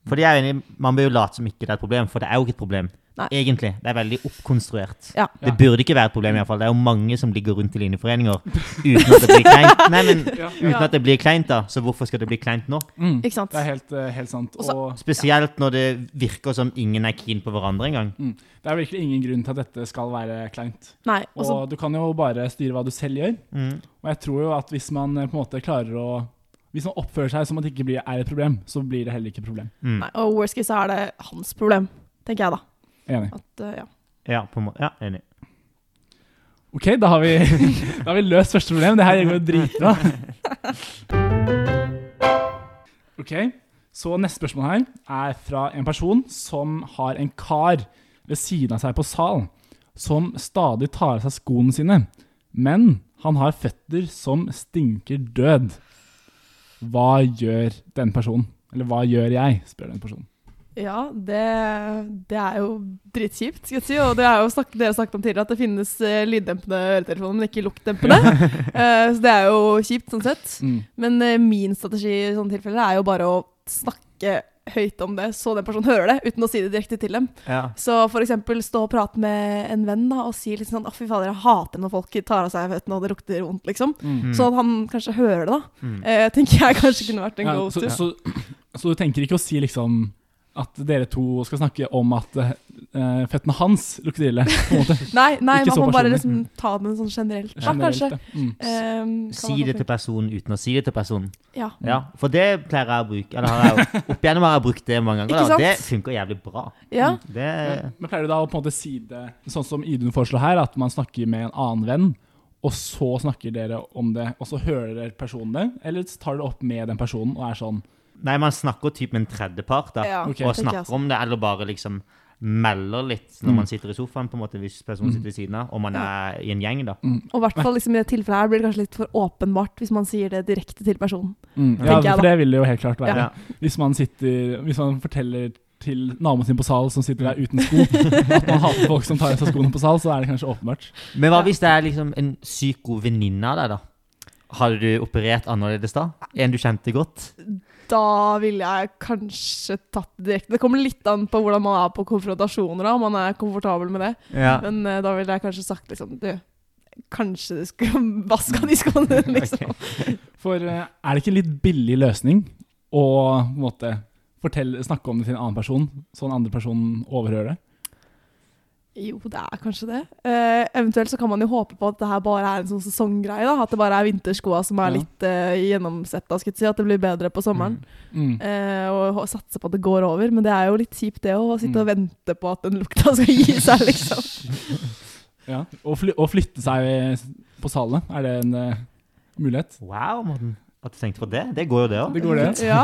Speaker 2: Fordi jeg er enig, Man bør jo late som ikke det er et problem, for det er jo ikke et problem.
Speaker 3: Nei.
Speaker 2: Egentlig. Det er veldig oppkonstruert.
Speaker 3: Ja.
Speaker 2: Det burde ikke være et problem, iallfall. Det er jo mange som ligger rundt i lineforeninger uten at det blir kleint. Nei, men uten at det blir kleint, da. Så hvorfor skal det bli kleint nå?
Speaker 1: Mm.
Speaker 3: Ikke sant?
Speaker 1: Det er helt, eh, helt sant.
Speaker 3: Og så-
Speaker 1: Og
Speaker 2: Spesielt når det virker som ingen er keen på hverandre engang.
Speaker 1: det er virkelig ingen grunn til at dette skal være kleint.
Speaker 3: Nei. Og så
Speaker 1: Og du kan jo bare styre hva du selv gjør.
Speaker 2: Mm.
Speaker 1: Og jeg tror jo at hvis man eh, på en måte klarer å Hvis man oppfører seg som at det ikke blir, er et problem, så blir det heller ikke et problem.
Speaker 2: Mm.
Speaker 3: nei, og worst case så er det hans problem, tenker jeg da.
Speaker 1: Enig.
Speaker 3: At, eh, ja.
Speaker 2: Ja, på en måte. Ja, enig.
Speaker 1: Ok, da har vi, da har vi løst første problem. Det her går jo dritbra. Ok, så neste spørsmål her er fra en person som har en kar ved siden av seg på sal, som stadig tar av seg skoene sine, men han har føtter som stinker død. Hva gjør den personen? Eller hva gjør jeg, spør den personen.
Speaker 3: Ja, det, det er jo dritkjipt, skal jeg si. Og det er jo snakk, dere snakket om tidligere at det finnes eh, lyddempende øretelefoner, men ikke luktdempende. Eh, så det er jo kjipt, sånn sett.
Speaker 1: Mm.
Speaker 3: Men eh, min strategi i sånne tilfeller er jo bare å snakke høyt om det, så den personen hører det, uten å si det direkte til dem.
Speaker 2: Ja.
Speaker 3: Så for eksempel stå og prate med en venn da, og si litt sånn «Å, fy fader, jeg hater når folk tar av seg føttene og det lukter vondt, liksom.
Speaker 1: Mm.
Speaker 3: Så at han kanskje hører det, da.
Speaker 2: Mm.
Speaker 3: Eh, tenker jeg kanskje kunne vært en
Speaker 1: Ja,
Speaker 3: go-to.
Speaker 1: så, så, så du tenker ikke å si liksom at dere to skal snakke om at eh, føttene hans lukter ille? på en måte.
Speaker 3: Nei, nei,
Speaker 1: Ikke
Speaker 3: man
Speaker 1: så
Speaker 3: må bare
Speaker 1: personlig.
Speaker 3: liksom ta den sånn generelt, da,
Speaker 1: Generelt,
Speaker 3: kanskje.
Speaker 1: ja. Mm.
Speaker 3: Ehm, kan
Speaker 2: Si
Speaker 3: man
Speaker 2: det
Speaker 3: kanskje-
Speaker 2: til personen uten å si det til personen.
Speaker 3: Ja.
Speaker 2: Ja, For det pleier jeg å bruke. Eller har jeg, opp igjennom har jeg brukt det mange ganger.
Speaker 3: Ikke
Speaker 2: Da.
Speaker 3: sant?
Speaker 2: Det funker jævlig bra.
Speaker 3: ja.
Speaker 2: Det,
Speaker 1: Men men pleier du da å på en måte si det sånn som Idun foreslår her, at man snakker med en annen venn, og så snakker dere om det, og så hører personen det? Eller tar dere opp med den personen og er sånn
Speaker 2: nei, man snakker typ med en tredjepart, da.
Speaker 3: Ja,
Speaker 1: Ok.
Speaker 2: og
Speaker 3: tenker jeg
Speaker 2: snakker om det, eller bare liksom melder litt når man sitter i sofaen, på en måte, hvis personen sitter ved siden av, og man er i en gjeng, da.
Speaker 3: Og i hvert fall liksom, i det tilfellet her blir det kanskje litt for åpenbart hvis man sier det direkte til personen.
Speaker 1: Mm. Ja,
Speaker 3: Tenker jeg
Speaker 1: for
Speaker 3: da.
Speaker 1: det vil det jo helt klart være.
Speaker 2: Ja.
Speaker 1: Hvis man sitter Hvis man forteller til naboen sin på sal, som sitter der uten sko, at man hater folk som tar av seg skoene på sal, så er det kanskje åpenbart.
Speaker 2: Men hva hvis det er liksom en sykt god venninne av deg, da? Hadde du operert annerledes da? En du kjente godt?
Speaker 3: Da ville jeg kanskje tatt det direkte. Det kommer litt an på hvordan man er på konfrontasjoner, da, om man er komfortabel med det.
Speaker 2: Ja.
Speaker 3: Men eh, da ville jeg kanskje sagt liksom Du, kanskje du skulle vaska de skoene, liksom.
Speaker 1: For eh, er det ikke en litt billig løsning å på en måte fortelle, snakke om det til en annen person, så den andre personen overhører det?
Speaker 3: Jo, det er kanskje det. Eh, eventuelt så kan man jo håpe på at det her bare er en sånn sesonggreie. da, At det bare er vinterskoa som
Speaker 1: Ja.
Speaker 3: er litt uh, gjennomsetta, skal jeg si. At det blir bedre på sommeren.
Speaker 1: Mm.
Speaker 3: Eh, og hå- satse på at det går over. Men det er jo litt kjipt det å
Speaker 1: Mm.
Speaker 3: sitte og vente på at den lukta skal gi seg, liksom.
Speaker 1: Ja. Å, fly å flytte seg på salene, er det en eh, mulighet?
Speaker 2: Wow, Morten. At du tenkte på det? Det går jo, det òg.
Speaker 1: Det går det.
Speaker 3: Ja,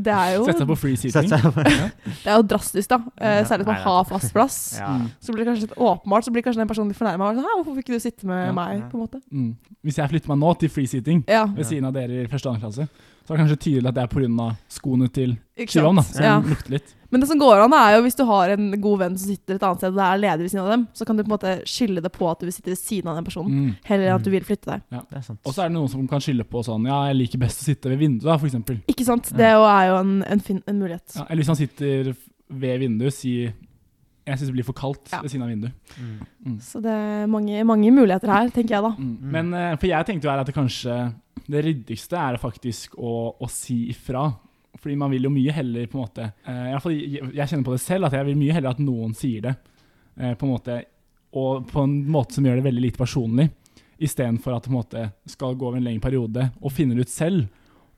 Speaker 3: det er jo,
Speaker 1: Sette seg på free
Speaker 2: Sett
Speaker 1: seating.
Speaker 2: seg
Speaker 3: det er jo drastisk, da. Eh, særlig hvis man
Speaker 2: Nei,
Speaker 3: har fast plass.
Speaker 2: Ja.
Speaker 1: Mm.
Speaker 3: Så blir det kanskje litt åpenbart, så blir kanskje den personen litt fornærma. Hvorfor fikk ikke du sitte med
Speaker 1: Ja.
Speaker 3: meg? på en måte?
Speaker 1: Mm. Hvis jeg flytter meg nå til free seating
Speaker 3: Ja,
Speaker 1: ved siden av dere i første og andre klasse, så er det kanskje tydelig at det er pga. skoene til
Speaker 3: ikke
Speaker 1: Kyrvan, da, Mm.
Speaker 3: sant?
Speaker 1: som
Speaker 3: Ja.
Speaker 1: lukter litt.
Speaker 3: Men det som går an, er jo hvis du har en god venn som sitter et annet sted, og det er ledig ved siden av dem, så kan du på en måte skylde det på at du vil sitte ved siden av den personen,
Speaker 1: Mm.
Speaker 3: heller enn at du vil flytte deg.
Speaker 2: Det er sant.
Speaker 1: Og så er det noen som kan skylde på sånn Ja, jeg liker best å sitte ved vinduet, da, for eksempel.
Speaker 3: Ikke sant? Det jo er jo en, en, fin, en mulighet.
Speaker 1: Ja, eller hvis han sitter f- ved vinduet si Jeg syns det blir for kaldt
Speaker 3: Ja.
Speaker 1: ved siden av vinduet.
Speaker 2: Mm.
Speaker 3: Så det er mange, mange muligheter her, tenker jeg da.
Speaker 1: Mm. Men eh, For jeg tenkte jo her at det kanskje det ryddigste er faktisk å, å si ifra. Fordi man vil jo mye heller på en måte eh, i hvert fall jeg, jeg kjenner på det selv at jeg vil mye heller at noen sier det. eh, på en måte Og på en måte som gjør det veldig lite personlig. Istedenfor at det på en måte skal gå over en lengre periode og finner ut selv.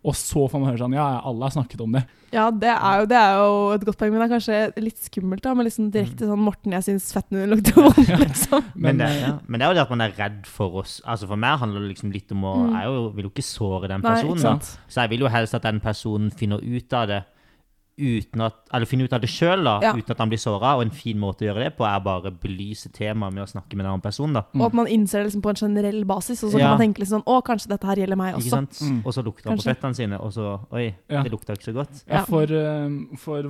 Speaker 1: Og så får man høre sånn Ja, ja, alle har snakket om det.
Speaker 3: Ja, det er jo, det er jo et godt poeng, men det er kanskje litt skummelt da, med liksom
Speaker 2: Mm.
Speaker 3: direkte sånn Morten, jeg syns fetten din lukter vondt, liksom.
Speaker 2: Men, det,
Speaker 1: eh,
Speaker 2: ja. men det er jo det at man er redd for oss. Altså For meg handler det liksom litt om å
Speaker 3: Mm.
Speaker 2: Jeg er jo, vil jo ikke såre den
Speaker 3: Nei,
Speaker 2: personen.
Speaker 3: ikke
Speaker 2: da.
Speaker 3: sant.
Speaker 2: Så jeg vil jo helst at den personen finner ut av det uten at, eller finner ut av det sjøl,
Speaker 3: Ja.
Speaker 2: uten at han blir såra. Og en fin måte å gjøre det på er bare å belyse temaet med å snakke med den andre personen. da.
Speaker 3: Og at man innser det liksom på en generell basis, og så
Speaker 2: Mm. Ja.
Speaker 3: kan man tenke litt sånn Å, kanskje dette her gjelder meg
Speaker 2: Ikke
Speaker 3: også.
Speaker 2: sant?
Speaker 1: Mm.
Speaker 2: Og så lukter han på
Speaker 3: Kanskje.
Speaker 2: føttene sine, og så Oi,
Speaker 1: eh, Ja.
Speaker 2: det lukta ikke så godt.
Speaker 1: Ja,
Speaker 3: Ja.
Speaker 1: for, eh, for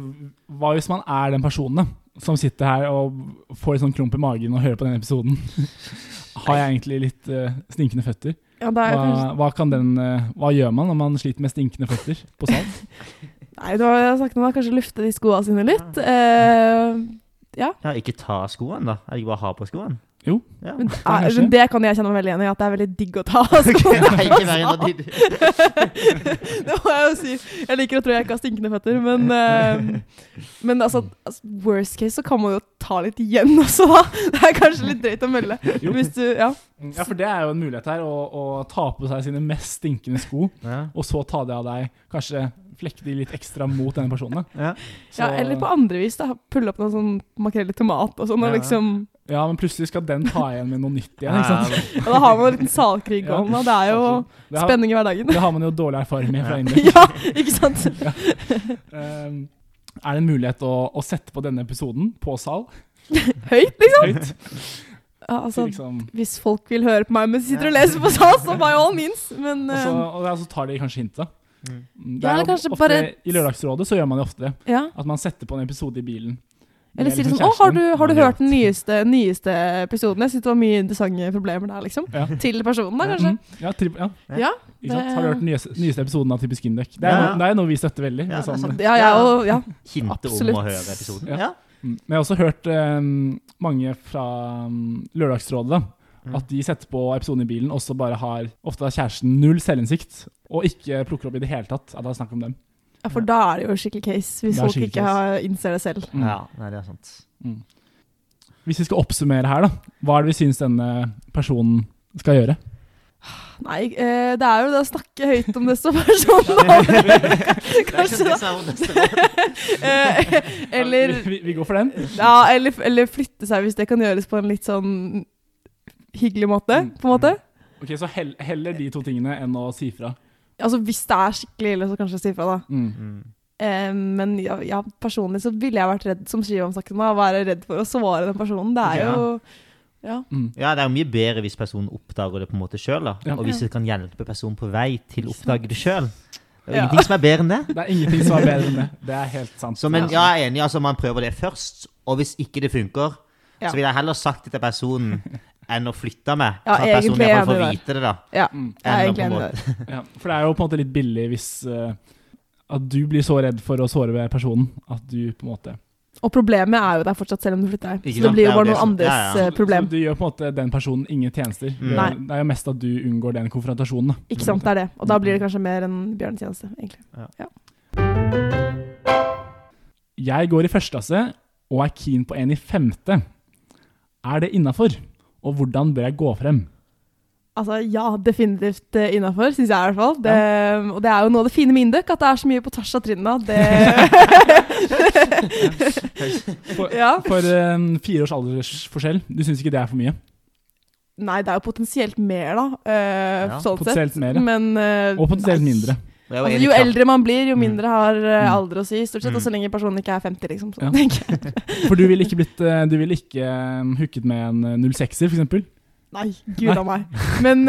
Speaker 1: hva hvis man er den personen da, som sitter her og får sånn klump i magen og hører på denne episoden? Har jeg egentlig litt eh, stinkende føtter?
Speaker 3: Ja, det, er jo kanskje,
Speaker 1: Hva, hva, kan den, eh, hva gjør man når man sliter med stinkende føtter på sal?
Speaker 3: nei, det var jeg snakket om, da. Kanskje lufte de skoa sine litt. Eh,
Speaker 2: Ja, ikke ta skoene, da. Eller ikke bare ha på skoene.
Speaker 1: Jo.
Speaker 2: Ja.
Speaker 3: men, det
Speaker 1: Ja,
Speaker 3: er,
Speaker 1: kanskje.
Speaker 3: men det kan jeg kjenne meg veldig igjen i, at det er veldig digg å ta av skoene.
Speaker 2: Nei, ikke være en av de-
Speaker 3: det må jeg jo si. Jeg liker å tro jeg ikke har stinkende føtter, men, eh, men altså, altså Worst case så kan man jo ta litt igjen også, da. Det er kanskje litt drøyt å melde.
Speaker 1: Jo.
Speaker 3: Hvis du Ja.
Speaker 1: Ja, for det er jo en mulighet her, å, å ta på seg sine mest stinkende sko,
Speaker 2: Ja.
Speaker 1: og så ta det av deg, kanskje flekke de litt ekstra mot denne personen. da.
Speaker 2: Ja.
Speaker 3: ja.
Speaker 1: Så-
Speaker 3: Eller på andre vis, da. Pulle opp noe sånn makrell i tomat og sånn, og
Speaker 2: Ja.
Speaker 3: liksom
Speaker 1: Ja, men plutselig skal den ta igjen med noe nytt igjen, ikke sant?
Speaker 3: Og da har man en liten salkrig gående, og det er jo
Speaker 1: Det har,
Speaker 3: spenning i hverdagen.
Speaker 1: det har man jo dårlig erfaring med fra India.
Speaker 3: ja, ikke sant?
Speaker 1: Um, er det en mulighet å, å sette på denne episoden på sal?
Speaker 3: Høyt, liksom.
Speaker 1: Høyt?
Speaker 3: Ja, altså,
Speaker 1: liksom.
Speaker 3: hvis folk vil høre på meg mens de sitter og leser på SAS, så by all means. Men
Speaker 1: Og, så,
Speaker 3: eh,
Speaker 1: og ja, så tar de kanskje hintet.
Speaker 2: Mm.
Speaker 1: Mm, Det
Speaker 3: Ja,
Speaker 1: er
Speaker 3: eller
Speaker 1: jo
Speaker 3: kanskje
Speaker 1: ofte,
Speaker 3: bare-
Speaker 1: I Lørdagsrådet så gjør man jo ofte det.
Speaker 3: ja.
Speaker 1: At man setter på en episode i bilen.
Speaker 3: Eller
Speaker 1: Med
Speaker 3: si
Speaker 1: liksom
Speaker 3: sånn Å, har du, har du
Speaker 2: Ja.
Speaker 3: hørt den nyeste, nyeste episoden? Jeg synes det var mye interessante problemer der, liksom.
Speaker 1: Ja.
Speaker 3: Til personen, da, kanskje.
Speaker 1: kjæresten. Mm, ja, tri ja.
Speaker 3: Ja,
Speaker 1: Ikke sant?
Speaker 3: det-
Speaker 1: Har du hørt den nyeste, nyeste episoden av Typisk Indøk? Det, er
Speaker 2: Ja, ja.
Speaker 1: noe- det er noe vi støtter veldig.
Speaker 2: Ja, det er
Speaker 1: liksom.
Speaker 2: sant.
Speaker 3: Ja, jeg og Ja.
Speaker 2: Hinte
Speaker 3: Absolutt.
Speaker 2: om å høre episoden.
Speaker 1: Ja.
Speaker 2: Ja.
Speaker 1: Mm. Men jeg har også hørt um, mange fra um, Lørdagsrådet da,
Speaker 2: Mm.
Speaker 1: at de setter på episoden i bilen, og så bare har ofte har kjæresten null selvinnsikt, og ikke plukker opp i det hele tatt at det er snakk om dem.
Speaker 3: ja, for da er det jo skikkelig case, hvis
Speaker 1: Det er
Speaker 3: folk
Speaker 1: skikkelig
Speaker 3: ikke har, innser det selv.
Speaker 1: Mm.
Speaker 2: ja. Nei, det er sant.
Speaker 1: Hvis vi skal oppsummere her, da, hva er det vi syns denne personen skal gjøre?
Speaker 3: Nei, eh, det er jo det å snakke høyt om det som personen har. Kanskje da. Eh, Eller
Speaker 1: vi, vi går for den.
Speaker 3: Ja, eller, eller flytte seg hvis det kan gjøres på en litt sånn hyggelig måte,
Speaker 1: Mm.
Speaker 3: på en måte.
Speaker 1: Ok, Så hell, heller de to tingene enn å si fra.
Speaker 3: Altså hvis det er skikkelig ille, så kanskje si fra, da.
Speaker 1: Mm.
Speaker 3: Eh, men ja, ja, personlig så ville jeg vært redd, som Shivam snakket om, å være redd for å svare den personen. Det er jo Ja.
Speaker 1: Mm.
Speaker 2: Ja, det er jo mye bedre hvis personen oppdager det på en måte sjøl.
Speaker 1: Ja.
Speaker 2: Og hvis det kan hjelpe personen på vei til å
Speaker 3: Sant.
Speaker 2: oppdage det sjøl. Det er jo
Speaker 3: Ja.
Speaker 2: ingenting som er bedre enn det.
Speaker 1: Det er ingenting som er bedre enn det. Det er helt sant.
Speaker 2: Så, men ja, jeg er enig, altså man prøver det først. Og hvis ikke det funker,
Speaker 3: Ja.
Speaker 2: så ville jeg heller sagt det til personen enn å flytte meg.
Speaker 3: Ja,
Speaker 2: sånn at personen
Speaker 3: egentlig er
Speaker 2: iallfall får
Speaker 3: jeg
Speaker 2: vite det, da.
Speaker 3: ja.
Speaker 1: Mm.
Speaker 3: Jeg er
Speaker 2: Eller på
Speaker 3: egentlig
Speaker 2: en
Speaker 3: enig
Speaker 2: måte.
Speaker 3: der.
Speaker 1: ja. For det er jo på en måte litt billig hvis eh, at du blir så redd for å såre ved personen at du på en måte
Speaker 3: Og problemet er jo der fortsatt, selv om du flytter deg.
Speaker 2: Ikke
Speaker 3: Så det
Speaker 2: sant?
Speaker 3: blir jo
Speaker 2: Det er
Speaker 3: bare
Speaker 2: jo det
Speaker 3: noen
Speaker 2: som-
Speaker 3: andres
Speaker 2: ja, ja.
Speaker 3: eh, problem.
Speaker 1: Så du gjør på en måte den personen ingen tjenester. Det
Speaker 3: Nei.
Speaker 1: er-
Speaker 2: Mm.
Speaker 1: Det er jo mest at du unngår den konfrontasjonen. da.
Speaker 3: Ikke sant, det er det. Og da
Speaker 2: Mm.
Speaker 3: blir det kanskje mer en bjørnetjeneste, egentlig.
Speaker 1: Jeg går i første klasse og er keen på en i femte. Er det innafor? Og hvordan bør jeg gå frem?
Speaker 3: Altså, ja, definitivt innafor, syns jeg i hvert fall. Det, eh, Og det er jo noe av det fine med Indøk, at det er så mye på tvers av trinna. Det Ja.
Speaker 1: For eh, fire års aldersforskjell, du syns ikke det er for mye?
Speaker 3: Nei, det er jo potensielt mer, da. eh,
Speaker 2: Ja,
Speaker 3: sånn
Speaker 1: potensielt
Speaker 3: sett.
Speaker 1: mer, ja.
Speaker 3: Men, eh,
Speaker 1: Og potensielt
Speaker 3: nei.
Speaker 1: mindre.
Speaker 2: Og jeg var
Speaker 3: Altså,
Speaker 2: enig
Speaker 3: jo
Speaker 2: i Kar-
Speaker 3: eldre man blir, jo mindre har eh,
Speaker 1: Mm.
Speaker 3: alder å si. Stort sett,
Speaker 2: Mm.
Speaker 3: Og så lenge personen ikke er 50, liksom. Så,
Speaker 1: Ja.
Speaker 3: tenker jeg.
Speaker 1: For du ville ikke, blitt, eh, du ville ikke eh, hooket med en eh, 06-er, f.eks.?
Speaker 3: Nei, gud a meg. Men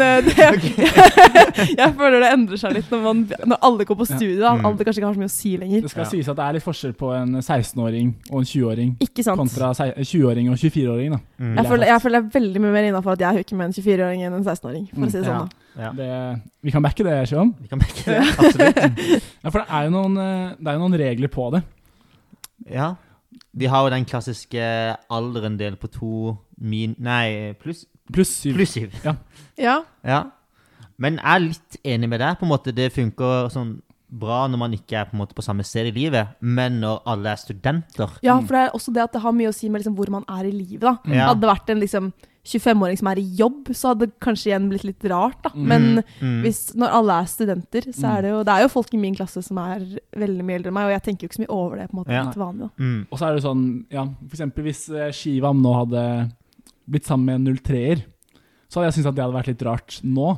Speaker 3: eh, det, jeg føler det endrer seg litt når, man, når alle går på
Speaker 1: Ja.
Speaker 3: studie. Da.
Speaker 2: Mm.
Speaker 3: Alder kanskje ikke har så mye å si lenger.
Speaker 1: Det skal
Speaker 2: Ja.
Speaker 1: sies at det er litt forskjell på en 16-åring og en 20-åring
Speaker 3: Ikke sant?
Speaker 1: kontra se- 20-åring og 24-åring. da.
Speaker 2: Mm.
Speaker 1: Ja.
Speaker 3: Jeg føler, jeg føler jeg er veldig mye mer innafor at jeg hooker med en 24-åring enn en 16-åring. For
Speaker 1: Mm,
Speaker 3: å si det
Speaker 2: ja.
Speaker 3: sånn, da.
Speaker 2: Ja.
Speaker 1: Det, vi kan backe det, Sjøen.
Speaker 2: Vi kan merke det. Absolutt.
Speaker 1: Ja, for det er jo noen, eh, det er jo noen regler på det.
Speaker 2: Ja. Vi har jo den klassiske alderen del på to min... Nei, pluss
Speaker 1: Pluss syv.
Speaker 2: pluss syv.
Speaker 3: Ja.
Speaker 2: Ja. Men jeg er litt enig med deg. på en måte Det funker sånn bra når man ikke er på, en måte på samme sted i livet, men når alle er studenter
Speaker 3: ja, for det er også det at det har mye å si med liksom, hvor man er i livet, da.
Speaker 2: Mm. Ja.
Speaker 3: Hadde det vært en liksom, 25-åring som er i jobb, så hadde det kanskje igjen blitt litt rart, da. Men
Speaker 2: mm.
Speaker 3: hvis, når alle er studenter, så er det jo Det er jo folk i min klasse som er veldig mye eldre enn meg, og jeg tenker jo ikke så mye over det, på en måte,
Speaker 2: Ja.
Speaker 3: til vanlig. Da.
Speaker 2: mm.
Speaker 1: Og så er det sånn, ja, for eksempel hvis eh, Shivam nå hadde blitt sammen med en 03-er, så hadde jeg syntes at det hadde vært litt rart nå,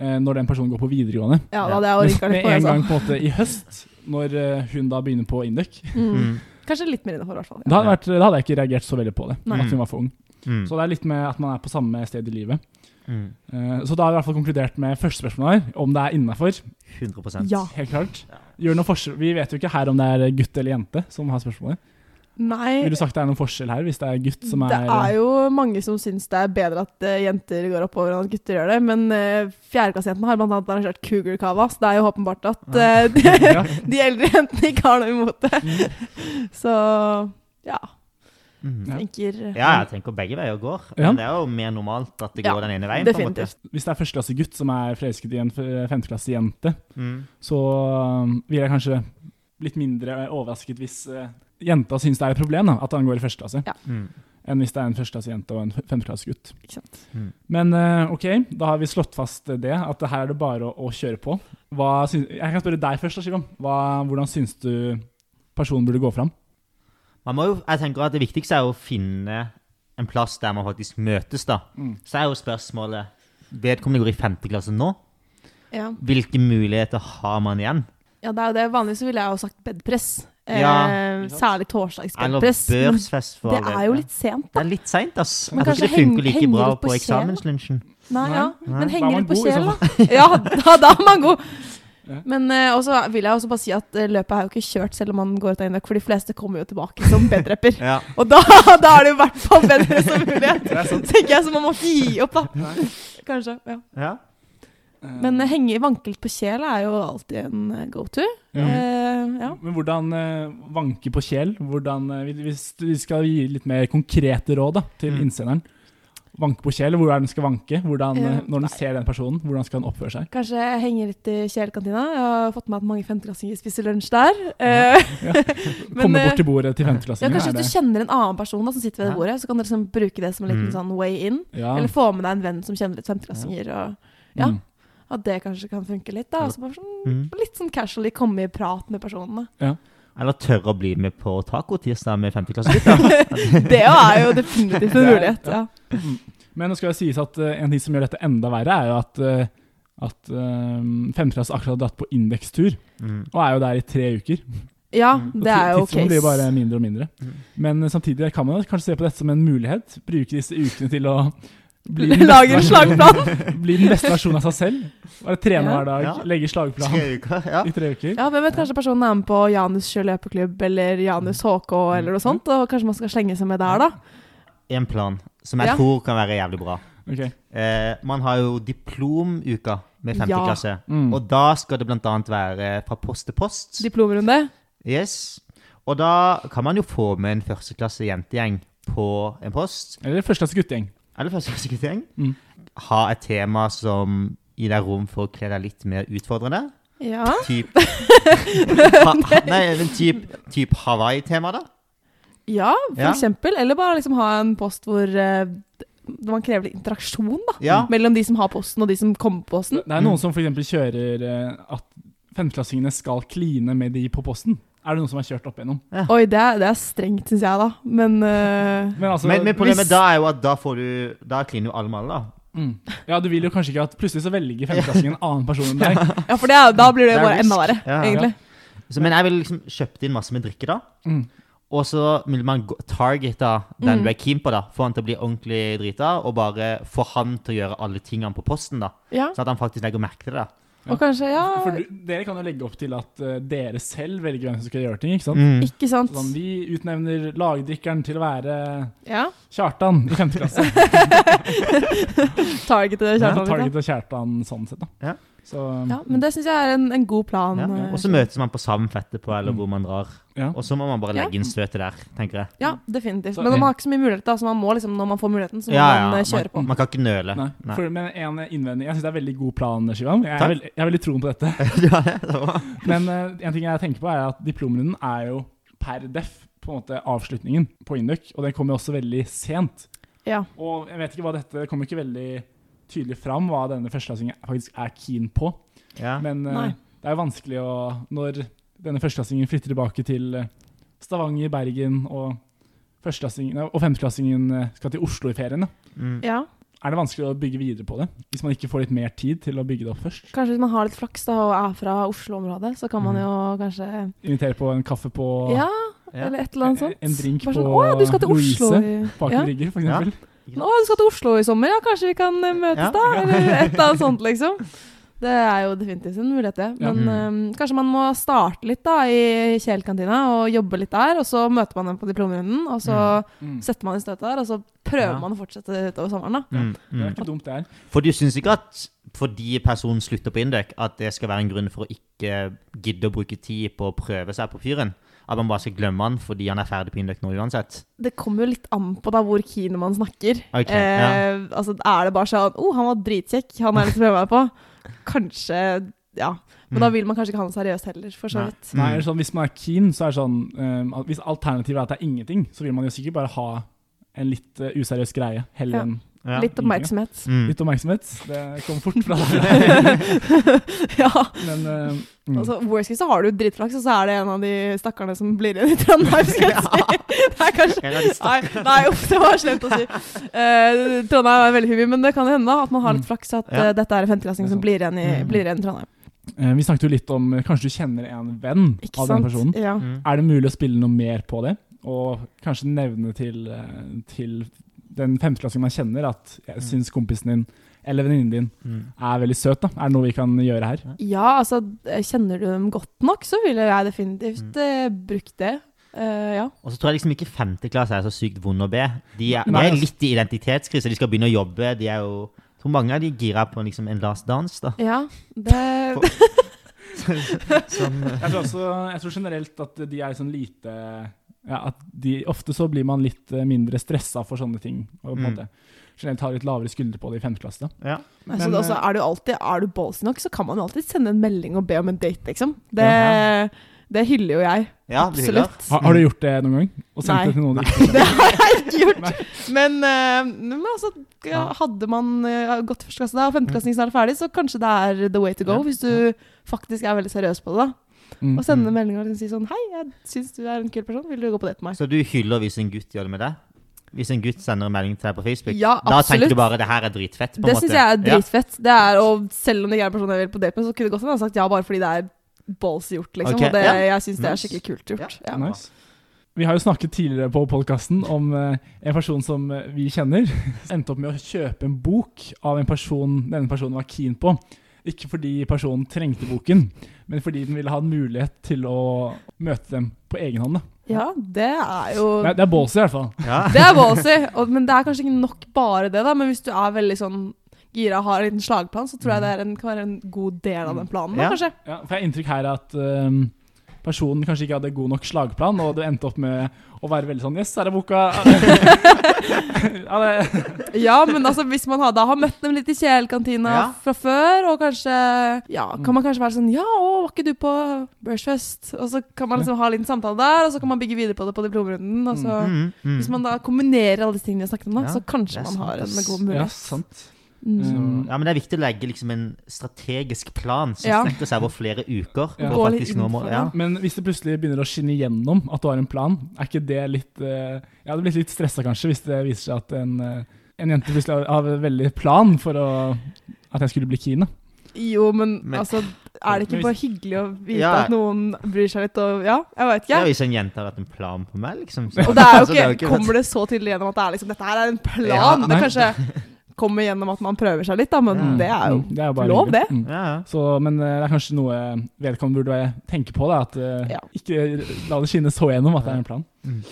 Speaker 1: eh, når den personen går på videregående.
Speaker 3: Ja, da hadde jeg orka litt
Speaker 1: med
Speaker 3: på det.
Speaker 1: en gang
Speaker 3: Altså.
Speaker 1: på en måte i høst, når eh, hun da begynner på Induk.
Speaker 3: Mm.
Speaker 2: Mm.
Speaker 3: Kanskje litt mer innafor, i hvert fall. Ja.
Speaker 1: Da hadde, vært, da hadde jeg ikke reagert så veldig på det,
Speaker 2: Nei.
Speaker 1: at hun var for ung.
Speaker 2: Mm.
Speaker 1: Så det er litt med at man er på samme sted i livet.
Speaker 2: Mm.
Speaker 1: Eh, Så da har vi i hvert fall konkludert med første spørsmål her, om det er innafor.
Speaker 2: 100
Speaker 3: Ja.
Speaker 1: Helt klart. Gjør noen forskjell. Vi vet jo ikke her om det er gutt eller jente som har spørsmålet.
Speaker 3: Nei,
Speaker 1: Vil du sagt det er noen forskjell her, hvis det er gutt som er
Speaker 3: det er jo mange som syns det er bedre at eh, jenter går oppover enn at gutter gjør det, men uh, fjerdeklassejentene har blant annet arrangert cougar-cava, så det er jo åpenbart at eh, de,
Speaker 1: Ja.
Speaker 3: de eldre jentene ikke har noe imot det.
Speaker 1: Mm.
Speaker 3: Så ja,
Speaker 2: Mm.
Speaker 1: Ja.
Speaker 3: tenker
Speaker 2: Ja, jeg tenker begge veier går.
Speaker 1: Ja.
Speaker 2: Men det er jo mer normalt at det
Speaker 3: Ja,
Speaker 2: går den ene veien. på en måte.
Speaker 3: definitivt.
Speaker 1: Hvis det er førsteklassegutt som er forelsket i en f- femteklassejente,
Speaker 2: Mm.
Speaker 1: så um, vil jeg kanskje litt mindre overrasket hvis eh, jenta syns det er et problem da, at han går i første klasse,
Speaker 3: Ja.
Speaker 2: Mm.
Speaker 1: enn hvis det er en førsteklassejente og en f- femteklassegutt.
Speaker 3: Ikke sant?
Speaker 2: Mm.
Speaker 1: Men eh, OK, da har vi slått fast det, at det her er det bare å, å kjøre på. Hva syns, jeg kan spørre deg først, da, Shivam. Hva- Hvordan syns du personen burde gå fram?
Speaker 2: Man må jo, jeg tenker at Det viktigste er jo å finne en plass der man faktisk møtes. da.
Speaker 1: Mm.
Speaker 2: Så er jo spørsmålet Vedkommende går i femte klasse nå.
Speaker 3: Ja.
Speaker 2: Hvilke muligheter har man igjen?
Speaker 3: ja, det er jo det. Vanligvis så ville jeg jo sagt bedpress. Eh,
Speaker 2: Ja,
Speaker 1: ikke sant?
Speaker 3: særlig
Speaker 2: Eller
Speaker 3: torsdagsbedpress. Men
Speaker 2: børsfest? for
Speaker 3: det
Speaker 2: alle.
Speaker 3: er jo litt sent,
Speaker 2: Det
Speaker 3: da.
Speaker 2: er litt seint, ass. Jeg
Speaker 3: Men
Speaker 2: tror ikke
Speaker 3: kanskje
Speaker 2: det funker
Speaker 3: heng-
Speaker 2: like bra
Speaker 3: henger litt på
Speaker 2: på
Speaker 3: sjela?
Speaker 2: eksamenslunsjen.
Speaker 3: Nei,
Speaker 1: Nei,
Speaker 3: ja.
Speaker 2: nei.
Speaker 3: Men
Speaker 1: Da er
Speaker 3: henger
Speaker 1: man
Speaker 3: litt på
Speaker 1: god i så
Speaker 3: sjela. Ja, da, da er man god.
Speaker 1: Ja.
Speaker 3: Men eh, også vil jeg også bare si at eh, løpet er jo ikke kjørt, selv om man går ut av innløp, for de fleste kommer jo tilbake som bedrepper.
Speaker 2: Ja.
Speaker 3: Og da, da er det jo i hvert fall bedre som mulighet, tenker jeg, så man må ikke gi opp, da. Kanskje. Ja.
Speaker 2: Ja.
Speaker 3: Men eh, henge vankelt på sjela er jo alltid en eh, go to.
Speaker 1: Ja.
Speaker 3: Eh, ja.
Speaker 1: Men hvordan eh, vanke på kjel? Hvordan, eh, vi- hvis du skal gi litt mer konkrete råd da, til
Speaker 2: Mm.
Speaker 1: innsenderen. Vanke på kjel, hvor er den skal vanke? Hvordan, eh,
Speaker 3: Ja.
Speaker 1: når den ser den personen, hvordan skal den oppføre seg?
Speaker 3: Kanskje jeg henger litt i kjelkantina. Jeg har fått med at mange femteklassinger spiser lunsj der. Eh, men,
Speaker 1: Komme
Speaker 3: eh,
Speaker 1: bort til bordet til
Speaker 3: ja,
Speaker 1: femteklassingen?
Speaker 3: kanskje
Speaker 1: er
Speaker 3: hvis du kjenner en annen person da, som sitter ved det
Speaker 2: Ja.
Speaker 3: bordet, så kan du liksom bruke det som en liten
Speaker 2: Mm.
Speaker 3: sånn way in.
Speaker 1: det- ja.
Speaker 3: Eller få med deg en venn som kjenner litt femteklassinger. Og ja.
Speaker 1: Mm.
Speaker 3: at det kanskje kan funke litt. da. Og så bare sånn,
Speaker 2: Mm.
Speaker 3: Litt sånn casually komme i prat med personene.
Speaker 2: Eller tørre å bli med på tacotirsdag med femteklassegutta.
Speaker 3: Det jo er jo definitivt en
Speaker 1: Det er-
Speaker 3: mulighet. ja.
Speaker 1: Mm. Men nå skal det sies at eh, en ting som gjør dette enda verre, er jo at, eh, at eh, femteklasse akkurat har dratt på indekstur,
Speaker 2: Mm.
Speaker 1: og er jo der i tre uker.
Speaker 3: Ja,
Speaker 1: Mm. Og
Speaker 3: det er jo
Speaker 1: tidsrommet blir jo bare
Speaker 3: case.
Speaker 1: mindre og mindre.
Speaker 2: Mm.
Speaker 1: Men eh, samtidig kan man jo kanskje se på dette som en mulighet. Bruke disse ukene til å bli den
Speaker 3: Lager en
Speaker 1: beste-
Speaker 3: slagplan.
Speaker 1: Bli den beste versjonen av seg selv. Bare trene
Speaker 3: Ja.
Speaker 1: hver dag,
Speaker 2: Ja.
Speaker 1: legge slagplan
Speaker 2: Tre uker, ja.
Speaker 1: i tre uker.
Speaker 3: Ja, hvem vet, Kanskje personen er med på Janus sjøløpeklubb eller Janus HK
Speaker 1: Mm.
Speaker 3: eller noe sånt, og kanskje man skal slenge seg med der, da.
Speaker 2: En plan som jeg
Speaker 3: Ja.
Speaker 2: tror kan være jævlig bra.
Speaker 1: Ok.
Speaker 2: Eh, man har jo diplomuka med femte
Speaker 3: Ja.
Speaker 2: klasse.
Speaker 1: Mm.
Speaker 2: Og da skal det bl.a. være fra post til post.
Speaker 3: Diplomrunde.
Speaker 2: Yes. Og da kan man jo få med en førsteklasse jentegjeng på en post.
Speaker 1: Eller førsteklasse guttegjeng.
Speaker 2: Eller førsteklasseguttegjeng.
Speaker 1: Mm.
Speaker 2: Ha et tema som gir deg rom for å kle deg litt mer utfordrende.
Speaker 3: Ja.
Speaker 2: Typ ha, ha, Nei, men typ, typ Hawaii-tema, da.
Speaker 3: ja, for
Speaker 2: Ja.
Speaker 3: eksempel. Eller bare liksom ha en post hvor eh, man krever litt interaksjon da,
Speaker 2: Ja.
Speaker 1: Mm.
Speaker 3: mellom de som har posten og de som kommer på posten.
Speaker 1: Det er noen som for eksempel kjører eh, at femteklassingene skal kline med de på posten. Er det noen som har kjørt opp igjennom?
Speaker 3: Oi, det er, det er strengt, syns jeg, da. Men eh,
Speaker 1: Men altså,
Speaker 2: Men, men problemet
Speaker 1: hvis-
Speaker 2: da er jo at da får du Da kliner jo alle med alle, da.
Speaker 1: Mm. Ja, du vil jo kanskje ikke at plutselig så velger femteklassingen en annen person enn deg.
Speaker 3: Ja, for det er, da blir det,
Speaker 2: Det er
Speaker 3: bare
Speaker 2: risk.
Speaker 3: enda verre,
Speaker 2: Ja, ja.
Speaker 3: egentlig.
Speaker 2: Så, men jeg ville liksom kjøpt inn masse med drikke, da.
Speaker 1: Mm.
Speaker 2: Og så vil man gå- targete den
Speaker 3: Mm.
Speaker 2: du er keen på, da. Få han til å bli ordentlig drita, og bare få han til å gjøre alle tingene på posten, da.
Speaker 3: Ja.
Speaker 2: Så at han faktisk legger merke til det. da.
Speaker 3: Og kanskje, ja
Speaker 1: For du, dere kan jo legge opp til at eh, dere selv velger hvem som skal gjøre ting. ikke sant?
Speaker 2: Mm.
Speaker 3: Ikke sant?
Speaker 1: Sånn, vi utnevner lagdrikkeren til å være
Speaker 3: Ja.
Speaker 1: Kjartan i femte klasse.
Speaker 3: Targetet
Speaker 1: Ja,
Speaker 3: kjæreste.
Speaker 1: Target og Kjartan sånn sett, da.
Speaker 2: Ja.
Speaker 1: Så,
Speaker 3: liksom. Ja, men det syns jeg er en, en god plan.
Speaker 2: Ja.
Speaker 3: eh,
Speaker 2: Og så møtes man på Savn etterpå, eller
Speaker 1: Mm.
Speaker 2: hvor man drar.
Speaker 1: ja.
Speaker 2: Og så må man bare
Speaker 3: Ja.
Speaker 2: legge inn støtet der, tenker jeg.
Speaker 3: Ja, definitivt.
Speaker 1: Så-
Speaker 3: Men man har ikke så mye muligheter, da, så man må liksom, når man får muligheten, så må
Speaker 2: Ja, ja.
Speaker 3: man eh, kjøre på.
Speaker 2: Man, man kan ikke nøle.
Speaker 1: Nei.
Speaker 2: Nei.
Speaker 1: For, men en innvending Jeg syns det er veldig god plan, Shivam. Jeg, er
Speaker 2: Takk.
Speaker 1: veld- jeg har veldig troen på dette.
Speaker 2: ja, det er bra.
Speaker 1: Men eh, en ting jeg tenker på, er at diplomrunden er jo per def på en måte avslutningen på Induc, og den kommer jo også veldig sent.
Speaker 3: Ja.
Speaker 1: Og jeg vet ikke hva dette Det kommer ikke veldig tydelig fram hva denne førsteklassingen faktisk er keen på,
Speaker 2: ja.
Speaker 1: men eh,
Speaker 3: Nei.
Speaker 1: det er jo vanskelig å Når denne førsteklassingen flytter tilbake til eh, Stavanger, Bergen og førsteklassingen nei, og femteklassingen eh, skal til Oslo i ferien, da.
Speaker 2: Mm.
Speaker 3: ja.
Speaker 1: er det vanskelig å bygge videre på det? Hvis man ikke får litt mer tid til å bygge det opp først?
Speaker 3: Kanskje hvis man har litt flaks da, og er fra Oslo-området, så kan man
Speaker 1: Mm.
Speaker 3: jo kanskje
Speaker 1: Invitere på en kaffe på
Speaker 3: Ja,
Speaker 2: Ja.
Speaker 3: eller et eller annet
Speaker 1: En-
Speaker 3: sånt.
Speaker 1: en drink
Speaker 3: Bare sånn,
Speaker 1: på
Speaker 3: Å ja, du skal til Oslo i
Speaker 1: Baker
Speaker 3: ja.
Speaker 1: Brygge, for
Speaker 2: Ja.
Speaker 1: eksempel.
Speaker 3: Å, du skal til Oslo i sommer, ja, kanskje vi kan eh, møtes
Speaker 2: Ja.
Speaker 3: da? Eller et eller annet sånt, liksom. Det er jo definitivt en mulighet, det.
Speaker 1: Ja. Mm.
Speaker 3: Men eh, kanskje man må starte litt da i Kjell-kantina og jobbe litt der, og så møter man dem på diplomrunden, og så
Speaker 1: Mm.
Speaker 3: setter man i støtet der, og så prøver
Speaker 2: Ja.
Speaker 3: man å fortsette utover sommeren, da.
Speaker 2: Mm.
Speaker 1: Det er
Speaker 2: Mm.
Speaker 1: ikke dumt, det her.
Speaker 2: For du syns ikke at fordi personen slutter på Indøk, at det skal være en grunn for å ikke gidde å bruke tid på å prøve seg på fyren? At man bare skal glemme han fordi han er ferdig på Indøk nå uansett?
Speaker 3: Det kommer jo litt an på da hvor keen man snakker.
Speaker 2: Ok,
Speaker 3: eh,
Speaker 2: ja.
Speaker 3: altså, er det bare sånn 'Å, oh, han var dritkjekk, han har jeg lyst til å prøve meg på'. Kanskje, ja. Men da vil man kanskje ikke ha han seriøst heller, for så
Speaker 2: Mm. Nei.
Speaker 3: vidt.
Speaker 1: Nei, eller sånn, hvis man er keen, så er det sånn ehm, at Hvis alternativet er at det er ingenting, så vil man jo sikkert bare ha en litt eh, useriøs greie heller
Speaker 3: Ja.
Speaker 1: enn
Speaker 2: Ja.
Speaker 3: Litt oppmerksomhet.
Speaker 2: Mm.
Speaker 1: litt oppmerksomhet. Det kommer fort fra deg.
Speaker 2: Mm.
Speaker 3: ja,
Speaker 1: Men ehm, mm.
Speaker 3: altså Worst case så har du dritflaks, og så er det en av de stakkarene som blir igjen i Trondheim. Skal jeg si. Nei, kanskje.
Speaker 2: En av de
Speaker 3: Nei, nei, uff, det var slemt å si. Eh, Trondheim er veldig hyggelig, men det kan jo hende da at man har litt flaks at
Speaker 2: Mm. Ja.
Speaker 3: eh, dette er en femteklassing som blir igjen i,
Speaker 1: Mm.
Speaker 3: blir igjen i Trondheim.
Speaker 1: Eh, Vi snakket jo litt om eh, Kanskje du kjenner en venn
Speaker 3: Ikke
Speaker 1: av den
Speaker 3: sant?
Speaker 1: personen.
Speaker 3: Ja.
Speaker 2: Mm.
Speaker 1: Er det mulig å spille noe mer på det? Og kanskje nevne til, eh, til den femteklassingen man kjenner, at jeg syns kompisen din eller venninnen din
Speaker 2: Mm.
Speaker 1: er veldig søt. da. Er det noe vi kan gjøre her?
Speaker 3: Ja, altså, kjenner du dem godt nok, så ville jeg definitivt
Speaker 1: Mm.
Speaker 3: eh, brukt det. Eh, ja.
Speaker 2: Og så tror jeg liksom ikke femteklasse er så sykt vond å be. De er, de
Speaker 1: Nei,
Speaker 2: er
Speaker 1: altså.
Speaker 2: litt i identitetskrise. De skal begynne å jobbe. De er jo jeg tror mange av de gira på liksom en last dance, da.
Speaker 3: ja det,
Speaker 2: Som, eh,
Speaker 1: Jeg tror, også, jeg tror generelt at de er sånn lite ja, at de, Ofte så blir man litt eh, mindre stressa for sånne ting. Og på en
Speaker 2: Mm.
Speaker 1: måte generelt har litt lavere skuldre på det i femte klasse.
Speaker 2: ja.
Speaker 3: altså,
Speaker 1: Men,
Speaker 3: altså,
Speaker 1: eh,
Speaker 3: er du alltid Er du ballsy nok, så kan man jo alltid sende en melding og be om en date, liksom. Det,
Speaker 2: Ja.
Speaker 3: det hyller jo jeg.
Speaker 2: ja, det er hyggelig.
Speaker 3: Absolutt.
Speaker 1: Har, har du gjort det noen gang? Og sendt
Speaker 3: Nei.
Speaker 1: det til noen du ikke kjenner?
Speaker 3: Det har jeg ikke gjort. Men, eh, men altså, ja,
Speaker 2: Ja.
Speaker 3: hadde man eh, gått første klasse da, og femteklassing snart ferdig, så kanskje det er the way to go,
Speaker 2: Ja.
Speaker 3: hvis du faktisk er veldig seriøs på det. da.
Speaker 1: Mm.
Speaker 3: Og sende en melding og liksom si sånn Hei, jeg syns du er en kul person, vil du gå på date med meg?
Speaker 2: Så du hyller hvis en gutt gjør det med deg? Hvis en gutt sender en melding til deg på Facebook,
Speaker 3: Ja,
Speaker 2: da tenker
Speaker 3: absolutt.
Speaker 2: du bare det her er dritfett? på en
Speaker 3: Det
Speaker 2: måte.
Speaker 3: syns jeg er dritfett. Det er, og selv om det ikke er en person jeg vil på date med, så kunne det godt hende jeg hadde sagt ja bare fordi det er ballsy gjort, liksom.
Speaker 2: Ok,
Speaker 3: Og det,
Speaker 2: ja.
Speaker 3: jeg syns det er
Speaker 2: Nice.
Speaker 3: skikkelig kult gjort. Ja.
Speaker 1: Nice. Vi har jo snakket tidligere på podkasten om eh, en person som eh, vi kjenner, endte opp med å kjøpe en bok av en person denne personen var keen på. Ikke fordi personen trengte boken, men fordi den ville ha en mulighet til å møte dem på egen hånd. da.
Speaker 3: ja, det er jo
Speaker 1: Det, er- det er ballsy, i hvert fall.
Speaker 2: Ja.
Speaker 3: Det er ballsy, og, men det er kanskje ikke nok bare det, da. Men hvis du er veldig sånn gira og har en liten slagplan, så tror jeg det er en, kan være en god del av den planen, da,
Speaker 2: Mm. Ja.
Speaker 3: kanskje.
Speaker 1: Ja, for jeg har inntrykk her at øhm, personen kanskje ikke hadde god nok slagplan, og det endte opp med å være veldig sånn Yes, her er boka. ja, det,
Speaker 3: Ja, men altså, hvis man har, da har møtt dem litt i kjelkantina
Speaker 2: Ja. Mm.
Speaker 3: fra før, og kanskje Ja, kan man kanskje være sånn Ja, å, var ikke du på Bursfest? Og så kan man liksom ha en liten samtale der, og så kan man bygge videre på det på diplomrunden. Og så,
Speaker 2: Mm, mm.
Speaker 3: Hvis man da kombinerer alle disse tingene vi har snakket om, da,
Speaker 2: Ja,
Speaker 3: så kanskje
Speaker 2: det er
Speaker 3: man har
Speaker 2: sant,
Speaker 3: en
Speaker 2: ass.
Speaker 3: god
Speaker 1: ja,
Speaker 3: mulighet.
Speaker 1: sant.
Speaker 3: Mm.
Speaker 1: Um,
Speaker 2: Ja, men Det er viktig å legge liksom en strategisk plan som
Speaker 3: Ja.
Speaker 2: strekker seg over flere uker.
Speaker 1: Ja.
Speaker 2: på
Speaker 3: Gå litt
Speaker 2: faktisk
Speaker 3: inn
Speaker 2: nå
Speaker 3: for
Speaker 2: må,
Speaker 3: det.
Speaker 2: ja.
Speaker 1: men hvis det plutselig begynner å skinne igjennom at du har en plan, er ikke det litt øh, Jeg hadde blitt litt stressa kanskje hvis det viser seg at en, øh, en jente plutselig har- har en veldig plan for å, at jeg skulle bli keen. da.
Speaker 3: Jo, men,
Speaker 2: Men-
Speaker 3: altså, er det
Speaker 1: Men
Speaker 3: ikke bare hyggelig å vite
Speaker 2: Ja.
Speaker 3: at noen bryr seg litt, og Ja, jeg vet
Speaker 2: Ja,
Speaker 3: ikke.
Speaker 2: hvis en jente har hatt en plan på meg, liksom. så-
Speaker 3: Og det er
Speaker 2: altså,
Speaker 3: jo ikke,
Speaker 2: jo
Speaker 3: kommer det så tydelig gjennom at det er liksom Dette her er en plan.
Speaker 2: Ja,
Speaker 3: det
Speaker 1: nei.
Speaker 3: kanskje kommer gjennom at man prøver seg litt, da, men
Speaker 2: Ja.
Speaker 3: det er jo
Speaker 1: Mm, det er jo bare
Speaker 3: lov,
Speaker 1: hyggelig.
Speaker 3: det.
Speaker 1: Mm.
Speaker 2: Ja, ja.
Speaker 1: Så, men eh, det er kanskje noe vedkommende burde tenke på. Da, at eh,
Speaker 3: Ja.
Speaker 1: Ikke la det skinne så gjennom at det er en plan.
Speaker 2: Mm.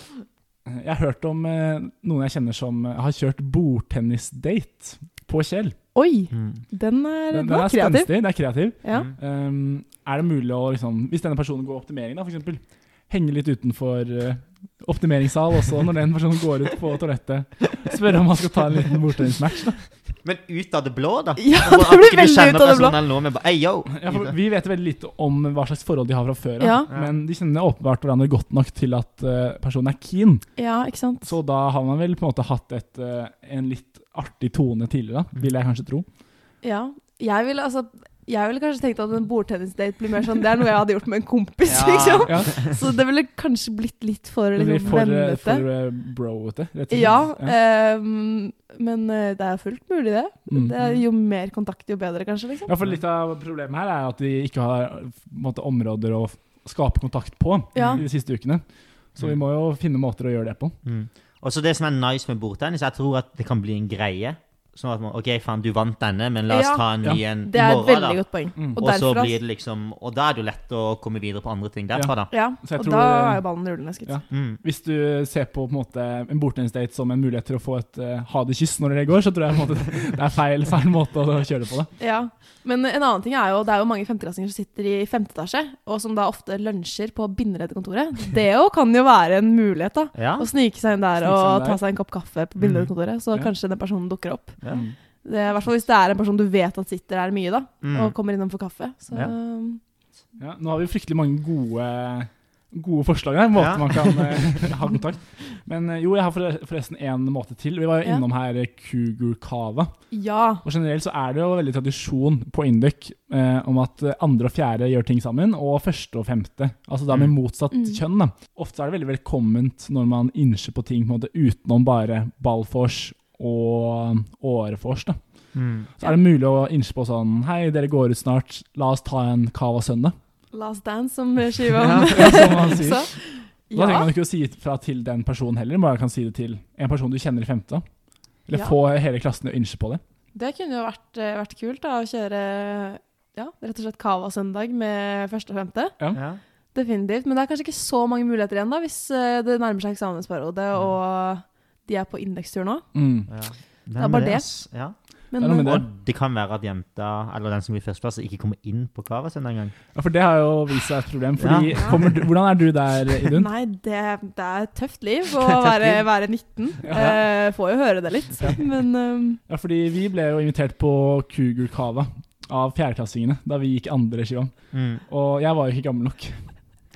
Speaker 1: Jeg har hørt om eh, noen jeg kjenner som eh, har kjørt bordtennisdate. på Kjell.
Speaker 3: Oi!
Speaker 2: Mm.
Speaker 3: Den er,
Speaker 1: Den,
Speaker 3: den
Speaker 1: den er
Speaker 3: var kreativ.
Speaker 1: spenstig, den er kreativ.
Speaker 3: Ja.
Speaker 2: Mm.
Speaker 1: Um, er det mulig å liksom, Hvis denne personen går optimering, da, for eksempel, henge litt utenfor uh, optimeringssal også når den personen går ut på toalettet, spørre om han skal ta en liten bordtennismatch. da.
Speaker 2: Men ut av det blå, da?
Speaker 3: Ja,
Speaker 2: Og
Speaker 3: det
Speaker 2: at
Speaker 3: blir
Speaker 2: ikke du
Speaker 3: veldig
Speaker 2: kjenner
Speaker 3: ut av det blå.
Speaker 2: personen nå, men bare, «Ei, yo!»
Speaker 1: Ja, for vi vet veldig lite om hva slags forhold de har fra før av,
Speaker 3: Ja.
Speaker 1: men de kjenner åpenbart hverandre godt nok til at uh, personen er keen.
Speaker 3: Ja, ikke sant.
Speaker 1: Så da har man vel på en måte hatt et, uh, en litt artig tone tidligere, da, vil jeg kanskje tro.
Speaker 3: Ja. Jeg ville altså jeg ville kanskje tenkt at en bordtennisdate blir mer sånn Det er noe jeg hadde gjort med en kompis,
Speaker 2: Ja.
Speaker 3: liksom.
Speaker 1: Ja,
Speaker 3: Så det ville kanskje blitt litt for
Speaker 1: det blir
Speaker 3: liksom,
Speaker 1: for, uh,
Speaker 3: vennete.
Speaker 1: for uh, broete, rett og slett.
Speaker 3: ja, ehm, men eh, det er fullt mulig, det.
Speaker 1: Mm.
Speaker 3: det er jo mer kontakt, jo bedre, kanskje. liksom.
Speaker 1: Ja, for litt av problemet her er at de ikke har på en måte, områder å skape kontakt på
Speaker 3: Ja.
Speaker 1: i de siste ukene. Så vi må jo finne måter å gjøre det på.
Speaker 2: Mm. Og så det som er nice med bordtennis, jeg tror at det kan bli en greie. Sånn at man, OK, faen, du vant denne, men la oss
Speaker 3: Ja.
Speaker 2: ta en ny
Speaker 1: Ja.
Speaker 2: en
Speaker 3: Det
Speaker 2: i
Speaker 3: er et
Speaker 2: morgen,
Speaker 3: veldig
Speaker 2: Mm. da.
Speaker 3: godt poeng.
Speaker 1: Mm.
Speaker 3: Og,
Speaker 2: Og så
Speaker 3: derfra,
Speaker 2: blir det liksom Og da er det jo lett å komme videre på andre ting derfra, da.
Speaker 3: ja,
Speaker 1: Så jeg
Speaker 3: og
Speaker 1: tror-
Speaker 3: da er jo ballen rullende. skutt.
Speaker 1: Ja.
Speaker 2: Mm.
Speaker 1: Hvis du ser på, på en, måte, en bortennisdate som en mulighet til å få et eh, ha det-kyss når dere går, så tror jeg på en måte, det er feil, feil måte å kjøre det på. Da.
Speaker 3: Ja, men en annen ting er jo Det er jo mange femteklassinger som sitter i femte etasje, og som da ofte lunsjer på Binderedkontoret. Det jo kan jo være en mulighet, da.
Speaker 2: Ja.
Speaker 3: Å snike seg inn der
Speaker 1: Snike seg inn
Speaker 3: og
Speaker 1: der. Mm.
Speaker 3: ta seg en kopp kaffe på Binderedkontoret, så
Speaker 1: Ja.
Speaker 3: kanskje den personen dukker opp.
Speaker 2: Ja.
Speaker 1: Mm.
Speaker 3: Det er, I hvert fall hvis det er en person du vet at sitter der mye, da,
Speaker 2: Mm.
Speaker 3: og kommer innom for kaffe. Så um,
Speaker 2: Ja.
Speaker 1: Ja, nå har vi jo fryktelig mange gode, gode forslag her, måter
Speaker 2: Ja.
Speaker 1: man kan eh, ha kontakt. Men eh, jo, jeg har forre- forresten én måte til. Vi var jo
Speaker 3: Ja.
Speaker 1: innom her eh, Kugurkava.
Speaker 3: ja.
Speaker 1: Og generelt så er det jo veldig tradisjon på Induk eh, om at eh, andre og fjerde gjør ting sammen, og første og femte. Altså da med
Speaker 2: Mm.
Speaker 1: motsatt
Speaker 3: Mm.
Speaker 1: kjønn. da. Ofte er det veldig velkomment når man innser på ting på en måte utenom bare ballfors og årefors. da.
Speaker 2: Mm.
Speaker 1: Så er det mulig å innse på sånn Hei, dere går ut snart. La oss ta en cava søndag.
Speaker 3: Last dance, som skiva om.
Speaker 1: Ja, som man sier.
Speaker 3: Så,
Speaker 1: Da trenger
Speaker 3: ja.
Speaker 1: man ikke å si fra til den personen heller, bare kan si det til en person du kjenner i femte. da. Eller
Speaker 3: Ja.
Speaker 1: få hele klassen til å innse på det.
Speaker 3: Det kunne jo vært, eh, vært kult da, å kjøre ja, rett og slett Cava-søndag med første og femte.
Speaker 2: Ja.
Speaker 3: Definitivt. Men det er kanskje ikke så mange muligheter igjen da, hvis eh, det nærmer seg eksamensperiode og de er på indekstur nå.
Speaker 1: Mm.
Speaker 2: Ja.
Speaker 3: er bare det.
Speaker 2: ass. Ja.
Speaker 1: Det
Speaker 3: Men
Speaker 1: er noe med
Speaker 3: eh,
Speaker 1: det.
Speaker 2: Og det kan være at jenta, eller den som blir førsteplass, ikke kommer inn på kava sin engang.
Speaker 1: Ja, For det har jo vist seg et problem. Fordi,
Speaker 3: Ja.
Speaker 1: kommer du, hvordan er du der, Idun?
Speaker 3: nei, det, det er et tøft liv å
Speaker 2: tøft
Speaker 3: være,
Speaker 2: liv.
Speaker 3: være 19. Eh, får jo høre det litt. Men eh,
Speaker 1: Ja, fordi vi ble jo invitert på Kugurkava av fjerdeklassingene da vi gikk andre skiva.
Speaker 2: Mm.
Speaker 1: Og jeg var jo ikke gammel nok.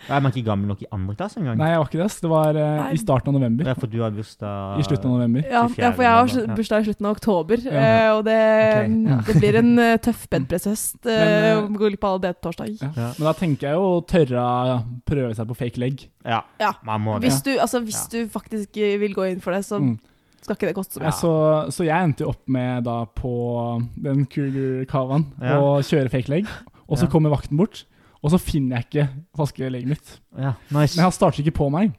Speaker 2: Da Er man ikke gammel nok i andre klasse engang?
Speaker 1: Nei, jeg var ikke det. ass. Det var eh,
Speaker 3: Nei.
Speaker 1: i starten av
Speaker 2: Det
Speaker 1: november.
Speaker 2: er fordi du har bursdag
Speaker 1: I slutten av november.
Speaker 3: ja, ja, for jeg har slu-
Speaker 2: Ja.
Speaker 3: bursdag i slutten av oktober,
Speaker 1: Ja.
Speaker 3: eh, og det,
Speaker 2: Ok, ja.
Speaker 3: det blir en eh, tøff bedpresshøst.
Speaker 1: Men, eh,
Speaker 3: Uh, går litt på alle det på torsdag.
Speaker 1: Ja. Men da tenker jeg jo å tørre å prøve seg på fake leg.
Speaker 2: Ja.
Speaker 3: Ja.
Speaker 2: Man må det.
Speaker 3: Hvis du, altså, hvis du faktisk eh, vil gå inn for det, så
Speaker 1: Mm.
Speaker 3: skal ikke det koste så
Speaker 1: Ja,
Speaker 3: mye.
Speaker 1: så, så jeg endte jo opp med da på den Kugurkavaen
Speaker 2: Ja.
Speaker 1: å kjøre fake leg. Og så
Speaker 2: Ja.
Speaker 1: kommer vakten bort, og så finner jeg ikke falske legget mitt.
Speaker 2: Ja. Nice.
Speaker 1: Men han starter ikke på meg.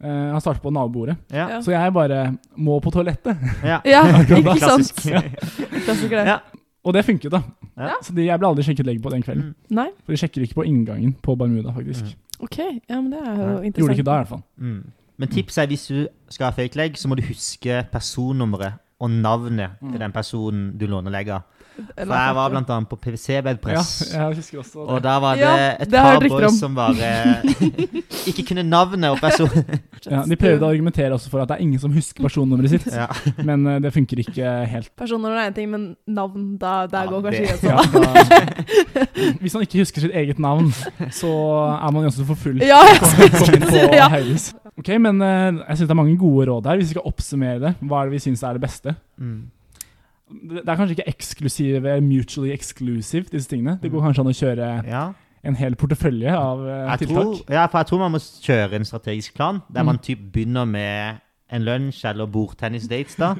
Speaker 1: Eh, han starter på nabobordet.
Speaker 2: Ja.
Speaker 3: Ja.
Speaker 1: Så jeg bare må på toalettet.
Speaker 2: Ja.
Speaker 3: Ja, ikke sant?
Speaker 2: Klassisk.
Speaker 3: Klassiker, det.
Speaker 2: Ja.
Speaker 1: Og det funket, da.
Speaker 2: Ja.
Speaker 1: Så de, jeg ble aldri sjekket legg på den kvelden.
Speaker 2: Mm.
Speaker 3: Nei,
Speaker 1: For de sjekker ikke på inngangen på Bermuda, faktisk.
Speaker 3: OK. Ja, men det er jo
Speaker 2: Nei.
Speaker 3: interessant.
Speaker 1: Gjorde de ikke da, i hvert fall.
Speaker 2: Mm. Men tips er hvis du skal ha fake leg, så må du huske personnummeret og navnet
Speaker 3: Mm.
Speaker 2: til den personen du låner legg av. For jeg var blant annet på
Speaker 1: Ja,
Speaker 2: PVC-bedpress.
Speaker 1: jeg husker også
Speaker 2: Og
Speaker 1: det.
Speaker 2: da var det
Speaker 3: Ja,
Speaker 2: et
Speaker 3: det har jeg
Speaker 2: par
Speaker 3: hørt rykter om.
Speaker 2: boys som bare ikke kunne navnet og personen.
Speaker 1: Ja, de prøvde å argumentere også for at det er ingen som husker personnummeret sitt,
Speaker 2: Ja.
Speaker 1: men eh, det funker ikke helt.
Speaker 3: Personnummer er én ting, men navn, da, der
Speaker 2: Ja,
Speaker 3: går
Speaker 2: det-
Speaker 3: kanskje grensa.
Speaker 1: Ja, da- hvis man ikke husker sitt eget navn, så er man jo også for full.
Speaker 3: Ja, jeg
Speaker 1: Kom inn
Speaker 3: skulle si
Speaker 1: Sånn på
Speaker 3: det, ja.
Speaker 1: høyhus. Ok, men eh, jeg syns det er mange gode råd her. Hvis vi skal oppsummere det, hva er det vi syns er det beste?
Speaker 2: Mm.
Speaker 1: Det det er kanskje ikke eksklusive, mutually exclusive, disse tingene. Det går kanskje an å kjøre
Speaker 2: Ja.
Speaker 1: en hel portefølje av eh,
Speaker 2: Jeg,
Speaker 1: tiltak.
Speaker 2: tror, ja, for jeg tror man må kjøre en strategisk plan, der man typ begynner med en lunsj eller bordtennis-dates, da.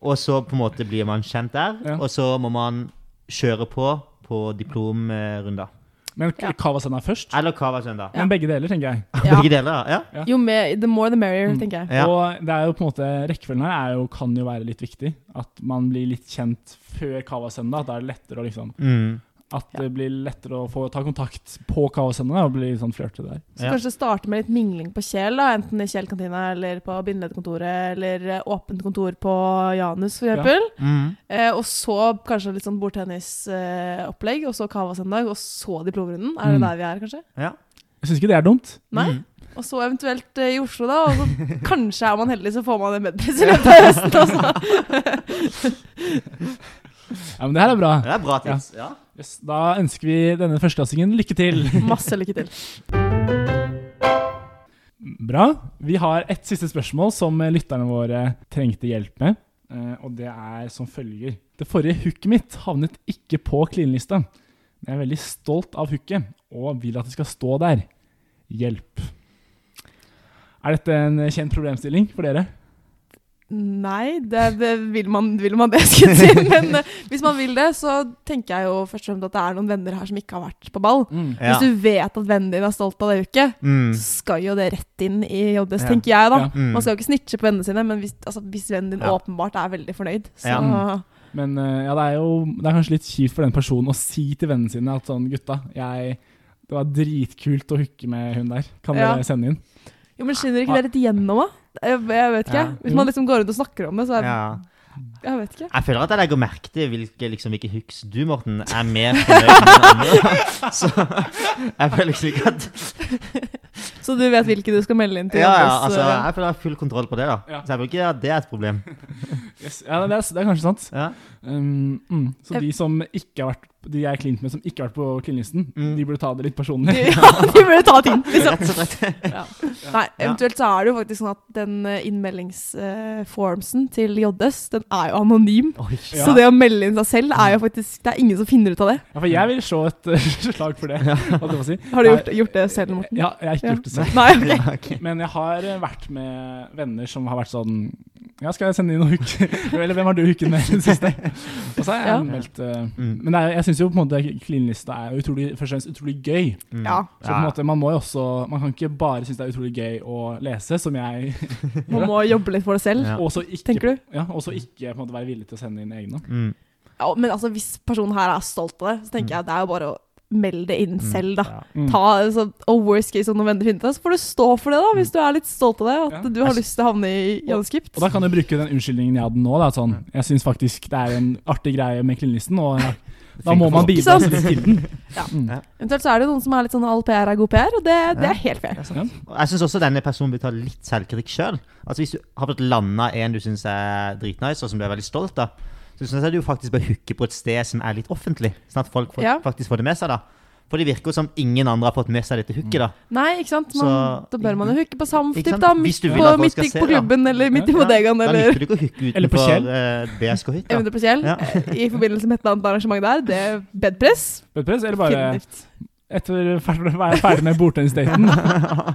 Speaker 2: Og så på en måte blir man kjent der,
Speaker 1: Ja.
Speaker 2: og så må man kjøre på på diplomrunder.
Speaker 1: Men
Speaker 3: Ja.
Speaker 1: Kawasana først.
Speaker 2: Eller Kava søndag.
Speaker 1: Men begge deler, tenker jeg.
Speaker 3: Ja.
Speaker 2: Begge deler, ja.
Speaker 3: Jo mer, the more the
Speaker 1: Mm.
Speaker 3: merrier, tenker jeg.
Speaker 2: ja.
Speaker 1: Og det er jo på en måte, rekkefølgen her er jo, kan jo være litt viktig. At man blir litt kjent før Kawasana. At da er det lettere å liksom
Speaker 2: Mm.
Speaker 1: At det blir lettere å få ta kontakt på kaosendene og bli litt sånn flørtete der.
Speaker 3: Så
Speaker 2: Ja.
Speaker 3: kanskje starte med litt mingling på Kjel, da, enten i Kjel-kantina eller på Bindeleddkontoret eller eh, åpent kontor på Janus for
Speaker 1: Ja.
Speaker 3: eksempel.
Speaker 2: Mm.
Speaker 3: Eh, og så kanskje litt sånn bordtennisopplegg, eh, opplegg, og så Cava-søndag, og så Diplomrunden. Er det
Speaker 1: Mm.
Speaker 3: der vi er, kanskje?
Speaker 2: Ja.
Speaker 1: Jeg syns ikke det er dumt.
Speaker 3: Nei?
Speaker 2: Mm.
Speaker 3: Og så eventuelt eh, i Oslo, da. Og så kanskje er man heldig, så får man en medpris i løpet av høsten også.
Speaker 1: Ja, men det her er bra.
Speaker 2: Det er bra tips. Ja.
Speaker 1: Yes, da ønsker vi denne førsteklassingen lykke til.
Speaker 3: Masse lykke til.
Speaker 1: Bra. Vi har et siste spørsmål som eh, lytterne våre trengte hjelp med. eh, Og det er som følger. Det forrige hooket mitt havnet ikke på klinelista. Men jeg er veldig stolt av hooket og vil at det skal stå der. Hjelp. Er dette en eh, kjent problemstilling for dere?
Speaker 3: Nei, det, det vil, man, vil man det, skulle jeg si. Men eh, hvis man vil det, så tenker jeg jo først og fremst at det er noen venner her som ikke har vært på ball.
Speaker 1: Mm.
Speaker 2: Ja.
Speaker 3: Hvis du vet at vennen din er stolt av det uket,
Speaker 2: Mm.
Speaker 3: så skal jo det rett inn i JS,
Speaker 2: Ja.
Speaker 3: tenker jeg, da.
Speaker 1: Ja.
Speaker 2: Mm.
Speaker 3: Man skal jo ikke snitche på vennene sine, men hvis, altså, hvis vennen din
Speaker 2: Ja.
Speaker 3: åpenbart er veldig fornøyd, så
Speaker 1: Ja. Men eh, ja, det er jo det er kanskje litt kjipt for den personen å si til vennene sine at sånn, gutta, jeg, det var dritkult å hooke med hun der. Kan
Speaker 3: Ja.
Speaker 1: dere sende inn?
Speaker 3: Jo, men skinner ikke det litt gjennom, da? Jeg, jeg vet ikke.
Speaker 2: Ja.
Speaker 3: Hvis man liksom går rundt og snakker om det, så er
Speaker 2: ja.
Speaker 3: Jeg vet ikke.
Speaker 2: Jeg føler at jeg legger merke til hvilke, liksom, hvilke hooks du, Morten, er mer fornøyd med enn andre. Så jeg føler liksom ikke at
Speaker 3: Så du vet hvilke du skal melde inn til?
Speaker 2: Ja, ja,
Speaker 3: jobbes,
Speaker 2: altså,
Speaker 3: eh,
Speaker 2: jeg føler jeg har full kontroll på det, da.
Speaker 1: Ja.
Speaker 2: Så jeg føler ikke at det er et problem.
Speaker 1: Yes. Ja, det er, det er kanskje sant.
Speaker 2: Ja.
Speaker 1: Um, mm. Så
Speaker 3: Jeg-
Speaker 1: de som ikke har vært De jeg er klint med som ikke har vært på klinelisten,
Speaker 2: Mm.
Speaker 1: de burde ta det litt personlig.
Speaker 3: ja, de burde ta ting, liksom.
Speaker 2: Rett og slett.
Speaker 3: Nei, eventuelt så er det jo faktisk sånn at den innmeldingsformsen eh, til JS, den er jo anonym.
Speaker 2: Oi.
Speaker 1: Ja. Mm.
Speaker 3: Så det å melde inn seg selv er jo faktisk Det er ingen som finner ut av det.
Speaker 1: Ja, for jeg vil slå et uh, slag for det. holdt jeg på å si.
Speaker 3: Har du gjort, gjort det selv, Morten?
Speaker 1: Ja, jeg har ikke
Speaker 3: Ja.
Speaker 1: gjort det selv.
Speaker 3: Nei, ok.
Speaker 2: Ja, ok.
Speaker 1: Men jeg har eh, vært med venner som har vært sånn Ja, skal jeg sende inn noen hook? Eller hvem har du hooket med i det siste? Og så har jeg
Speaker 3: Ja.
Speaker 1: meldt eh,
Speaker 2: Mm.
Speaker 1: Men det er, jeg syns jo på en måte klinelista er jo utrolig, først og fremst utrolig gøy.
Speaker 2: Mm.
Speaker 3: Ja.
Speaker 1: Så på en måte, man må jo også Man kan ikke bare synes det er utrolig gøy å lese, som jeg
Speaker 3: Man må jobbe litt for det selv.
Speaker 2: Ja.
Speaker 1: også ikke,
Speaker 3: Tenker du?
Speaker 1: Ja, også ikke på en måte være villig til å sende inn egne.
Speaker 2: Mm.
Speaker 3: Ja, men altså, hvis personen her er stolt av det, så tenker jeg det er jo bare å melde det inn selv, da.
Speaker 2: Ja.
Speaker 1: Mm.
Speaker 3: Ta, altså, og worst case om noen venner finner deg, så får du stå for det, da, hvis du er litt stolt av det. At
Speaker 1: Mm. Ja.
Speaker 3: du har lyst til å havne i Janskipt.
Speaker 1: Og da kan du bruke den unnskyldningen jeg hadde nå. Da, sånn, jeg syns faktisk det er en artig greie med klinelisten, og ja, da må man
Speaker 3: Ikke
Speaker 1: bidra
Speaker 3: sant?
Speaker 1: litt til den.
Speaker 3: Eventuelt så er det noen som er litt sånn all PR er god PR, og det, det er helt fair.
Speaker 1: Ja.
Speaker 2: Og Jeg syns også denne personen bør ta litt selvkritikk sjøl. Altså, hvis du har fått landa en du syns er dritnice, og som du er veldig stolt av, så syns jeg du faktisk bør hooke på et sted som er litt offentlig, sånn at folk får,
Speaker 3: Ja.
Speaker 2: faktisk får det med seg. da. For det virker jo som ingen andre har fått med seg dette hooket. da.
Speaker 3: Nei, ikke sant? Man,
Speaker 2: Så-
Speaker 3: da bør man jo hooke på
Speaker 2: Ikke
Speaker 3: Samftip,
Speaker 2: sant?
Speaker 3: da.
Speaker 2: Hvis
Speaker 3: Midt
Speaker 2: du vil
Speaker 3: på,
Speaker 2: at folk
Speaker 3: midt
Speaker 2: skal
Speaker 3: i-
Speaker 2: se,
Speaker 3: på
Speaker 2: da.
Speaker 3: klubben, eller midt i
Speaker 1: Ja.
Speaker 3: bodegaen,
Speaker 2: Da
Speaker 3: eller
Speaker 2: nytter det ikke å hooke
Speaker 1: Eller på
Speaker 2: utenfor uh, BSK hytt. da.
Speaker 3: eventuelt på Kjell.
Speaker 2: Ja.
Speaker 3: eh, I forbindelse med et eller annet arrangement der. Det er bedpress.
Speaker 1: Bedpress, eller bare
Speaker 3: Definitivt.
Speaker 1: etter å være ferdig med bordtennisdaten.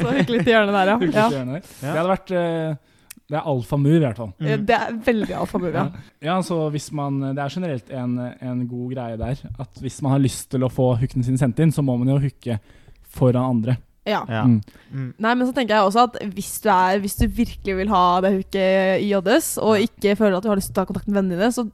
Speaker 3: Så hyggelig til hjørnet der,
Speaker 1: Det
Speaker 3: ja. ja.
Speaker 1: hadde vært eh, Det er alfamur, i hvert fall.
Speaker 2: Mm.
Speaker 3: Eh, Det er veldig alfamur, ja.
Speaker 1: Ja, så hvis man, Det er generelt en, en god greie der at hvis man har lyst til å få hookene sine sendt inn, så må man jo hooke foran andre.
Speaker 3: ja.
Speaker 2: Ja.
Speaker 1: Mm.
Speaker 2: Mm.
Speaker 3: Nei, men så tenker jeg også at hvis du, er, hvis du virkelig vil ha det hooket i JS, og ikke føler at du har lyst til å ta kontakt med vennene dine, så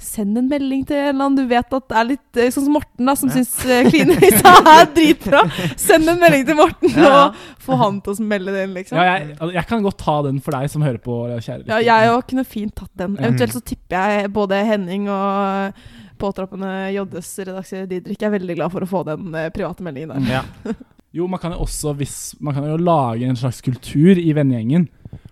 Speaker 3: send en melding til en eller annen du vet at er litt eh, Sånn som Morten, da, som
Speaker 2: Ja.
Speaker 3: syns klinelista er dritbra. Send en melding til Morten
Speaker 2: Ja, ja.
Speaker 3: og få han til å melde det inn, liksom.
Speaker 1: Ja, jeg, jeg kan godt ta den for deg som hører på, kjære
Speaker 3: Ja, jeg òg kunne fint tatt den.
Speaker 1: Mhm.
Speaker 3: Eventuelt så tipper jeg både Henning og påtroppende JS redaktør Didrik er veldig glad for å få den eh, private meldingen
Speaker 1: Mm.
Speaker 3: der.
Speaker 2: Ja.
Speaker 1: Jo, man kan jo også hvis, man kan jo lage en slags kultur i vennegjengen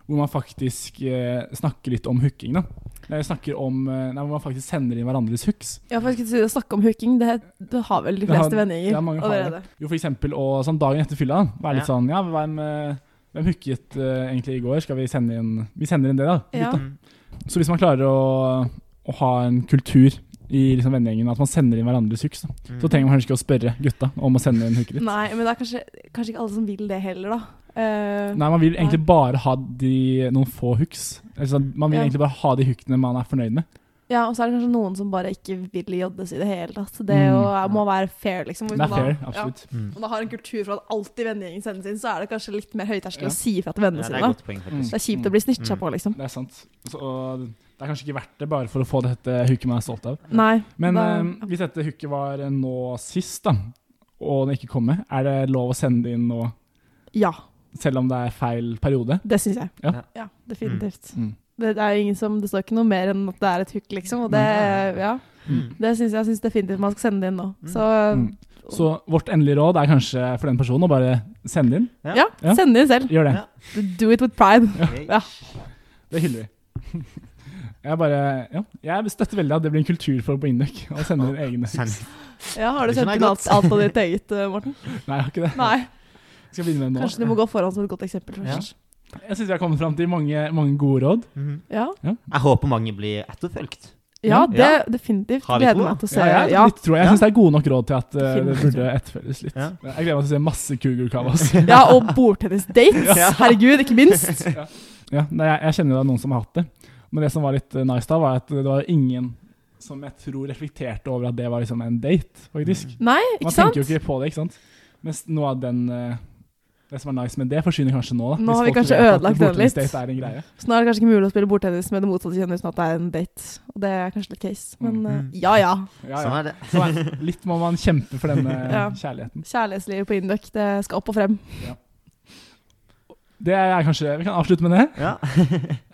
Speaker 1: hvor man faktisk eh, snakker litt om hooking. da. Eller snakker om, eh, nei, Hvor man faktisk sender inn hverandres hooks.
Speaker 3: Ja, for jeg skulle si å snakke om hooking, det, det har vel de
Speaker 1: Det har-
Speaker 3: fleste vennegjenger
Speaker 1: ja, mange har det.
Speaker 3: allerede.
Speaker 1: Jo, for eksempel, og, sånn Dagen etter fylla. da, Være litt
Speaker 2: Ja.
Speaker 1: sånn Ja, hvem, eh, hvem hooket eh, egentlig i går? Skal Vi sende inn Vi sender inn det, da.
Speaker 3: Ja.
Speaker 2: Mm.
Speaker 1: Gutta. Så hvis man klarer å, å ha en kultur i liksom, vennegjengen, at man sender inn hverandres hooks, da,
Speaker 2: Mm.
Speaker 1: så trenger man kanskje ikke å spørre gutta om å sende inn hooket ditt.
Speaker 3: Nei, men det er kanskje, kanskje ikke alle som vil det heller, da. Eh,
Speaker 1: Nei, man vil egentlig bare ha de, noen få hooks. Altså, man vil
Speaker 3: Ja.
Speaker 1: egentlig bare ha de hookene man er fornøyd med.
Speaker 3: ja, Og så er det kanskje noen som bare ikke vil joddes i det hele tatt. Så Det
Speaker 1: Mm.
Speaker 3: jo, er- må være fair, liksom. Hvis
Speaker 1: Det er
Speaker 3: man
Speaker 1: fair,
Speaker 3: da,
Speaker 1: absolutt.
Speaker 2: Mm.
Speaker 3: Ja, og da har en kultur for at alltid vennegjengen sendes inn, så er det kanskje litt mer
Speaker 1: Ja. Mm.
Speaker 3: høyterskel å si ifra til vennene
Speaker 2: Ja, det er
Speaker 3: sine.
Speaker 2: et
Speaker 3: da.
Speaker 2: godt poeng, faktisk.
Speaker 3: Mm. Det er kjip å bli snitcha på, liksom.
Speaker 1: Det er sant. Så, og Det er kanskje ikke verdt det bare for å få dette hooket man er stolt av.
Speaker 3: Nei.
Speaker 1: Men
Speaker 3: da-
Speaker 1: eh, hvis dette hooket var eh, nå sist, da, og det ikke kom med, er det lov å sende inn nå,
Speaker 3: Ja,
Speaker 1: selv om det er feil periode?
Speaker 3: det syns jeg.
Speaker 1: Ja.
Speaker 3: definitivt.
Speaker 1: Mm.
Speaker 3: Det, det er jo ingen som, det står ikke noe mer enn at det er et hook, liksom. Og det,
Speaker 2: Nei.
Speaker 3: ja,
Speaker 2: Mm.
Speaker 3: det syns jeg synes definitivt man skal sende det inn nå. Så
Speaker 1: Mm. Så vårt endelige råd er kanskje for den personen å bare sende inn.
Speaker 2: Ja.
Speaker 3: ja,
Speaker 1: Ja.
Speaker 3: send det inn selv.
Speaker 1: Gjør det.
Speaker 2: Ja.
Speaker 3: Do it with pride.
Speaker 2: Ok.
Speaker 3: Ja.
Speaker 1: Det hyller vi. Jeg bare, ja, jeg støtter veldig at det blir en kultur for på Induc å sende inn egne
Speaker 2: Send.
Speaker 1: hooks.
Speaker 3: Ja, Har du
Speaker 2: Det skjønner
Speaker 3: sendt
Speaker 2: jeg
Speaker 3: inn alt,
Speaker 2: godt.
Speaker 3: alt av ditt eget, eh, Morten?
Speaker 1: Nei, jeg har ikke det.
Speaker 3: Nei.
Speaker 1: Skal jeg begynne med det
Speaker 3: Kanskje
Speaker 1: nå?
Speaker 3: du må gå foran som et godt eksempel først.
Speaker 1: Jeg syns vi har kommet fram til mange, mange gode råd.
Speaker 2: Mhm.
Speaker 3: Ja,
Speaker 2: Jeg håper mange blir etterfulgt.
Speaker 3: ja
Speaker 2: Mm.
Speaker 3: det
Speaker 2: Ja.
Speaker 3: definitivt.
Speaker 2: Har vi
Speaker 3: Gleder
Speaker 2: to, da?
Speaker 3: meg til å se.
Speaker 1: ja, jeg
Speaker 3: Ja,
Speaker 1: litt tror jeg, jeg syns det er gode nok råd til at eh, det
Speaker 3: Definitivt.
Speaker 1: burde etterfølges litt.
Speaker 2: Ja.
Speaker 1: Jeg gleder meg til å se masse Cougar Cavas.
Speaker 3: ja og bordtennisdates!
Speaker 2: Ja.
Speaker 3: Herregud, ikke minst.
Speaker 1: Ja, nei, jeg, jeg kjenner jo det er noen som har hatt det. Men det som var litt eh, nice da, var at det var ingen som jeg tror reflekterte over at det var liksom en date, faktisk.
Speaker 3: Nei,
Speaker 1: Man
Speaker 3: Mm. ikke sant?
Speaker 1: tenker jo ikke på det, ikke sant? Mens noe av den eh, Det som er nice med det, forsvinner kanskje nå. da.
Speaker 3: Nå
Speaker 1: hvis
Speaker 3: har vi
Speaker 1: folk
Speaker 3: kanskje
Speaker 1: vet at
Speaker 3: ødelagt den litt.
Speaker 1: bordtennisdate Er en greie.
Speaker 3: Så nå er det kanskje ikke mulig å spille bordtennis med det motsatte kjønn uten at det er en date. Og det er kanskje litt case.
Speaker 1: Mhm.
Speaker 3: Men
Speaker 2: Mm.
Speaker 3: eh, ja ja.
Speaker 1: Ja,
Speaker 2: Sånn
Speaker 1: ja.
Speaker 2: er det.
Speaker 1: Så eh, litt må man kjempe for denne
Speaker 3: Ja.
Speaker 1: kjærligheten.
Speaker 3: Kjærlighetslivet på Induc, det skal opp og frem.
Speaker 1: Det er kanskje, Vi kan avslutte med det.
Speaker 2: Ja.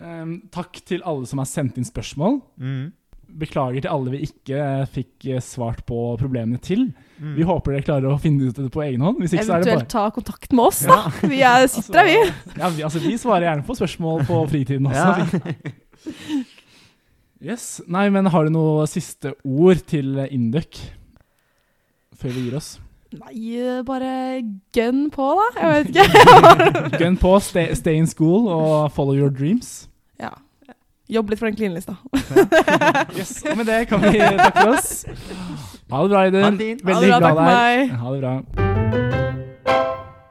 Speaker 1: Ehm, takk til alle som har sendt inn spørsmål.
Speaker 2: Mhm.
Speaker 1: Beklager til alle vi ikke eh, fikk eh, svart på problemene til.
Speaker 3: Mm.
Speaker 2: Mhm.
Speaker 1: Vi håper dere klarer å finne ut det på egen hånd. Hvis ikke så er det
Speaker 3: Eventuelt
Speaker 1: bare Altså,
Speaker 3: ta kontakt med oss, da. Vi er, sitter her, vi.
Speaker 1: Ja, vi, altså, vi svarer gjerne på spørsmål på fritiden også.
Speaker 2: Ja.
Speaker 1: Yes. Nei, men har du noe siste ord til eh, Induc før vi gir oss?
Speaker 3: Nei, eh, bare gønn på, da. Jeg vet ikke.
Speaker 1: Gun på, stay, stay in school og follow your dreams.
Speaker 3: ja. Jobb litt for den klinelista.
Speaker 1: Yes, og Med det kan vi takke for oss. Ha det bra,
Speaker 2: Ha det
Speaker 1: Aiden.
Speaker 2: fint.
Speaker 1: Veldig
Speaker 3: ha det bra,
Speaker 1: glad
Speaker 3: takk
Speaker 1: i
Speaker 3: meg.
Speaker 1: deg. Ha det bra.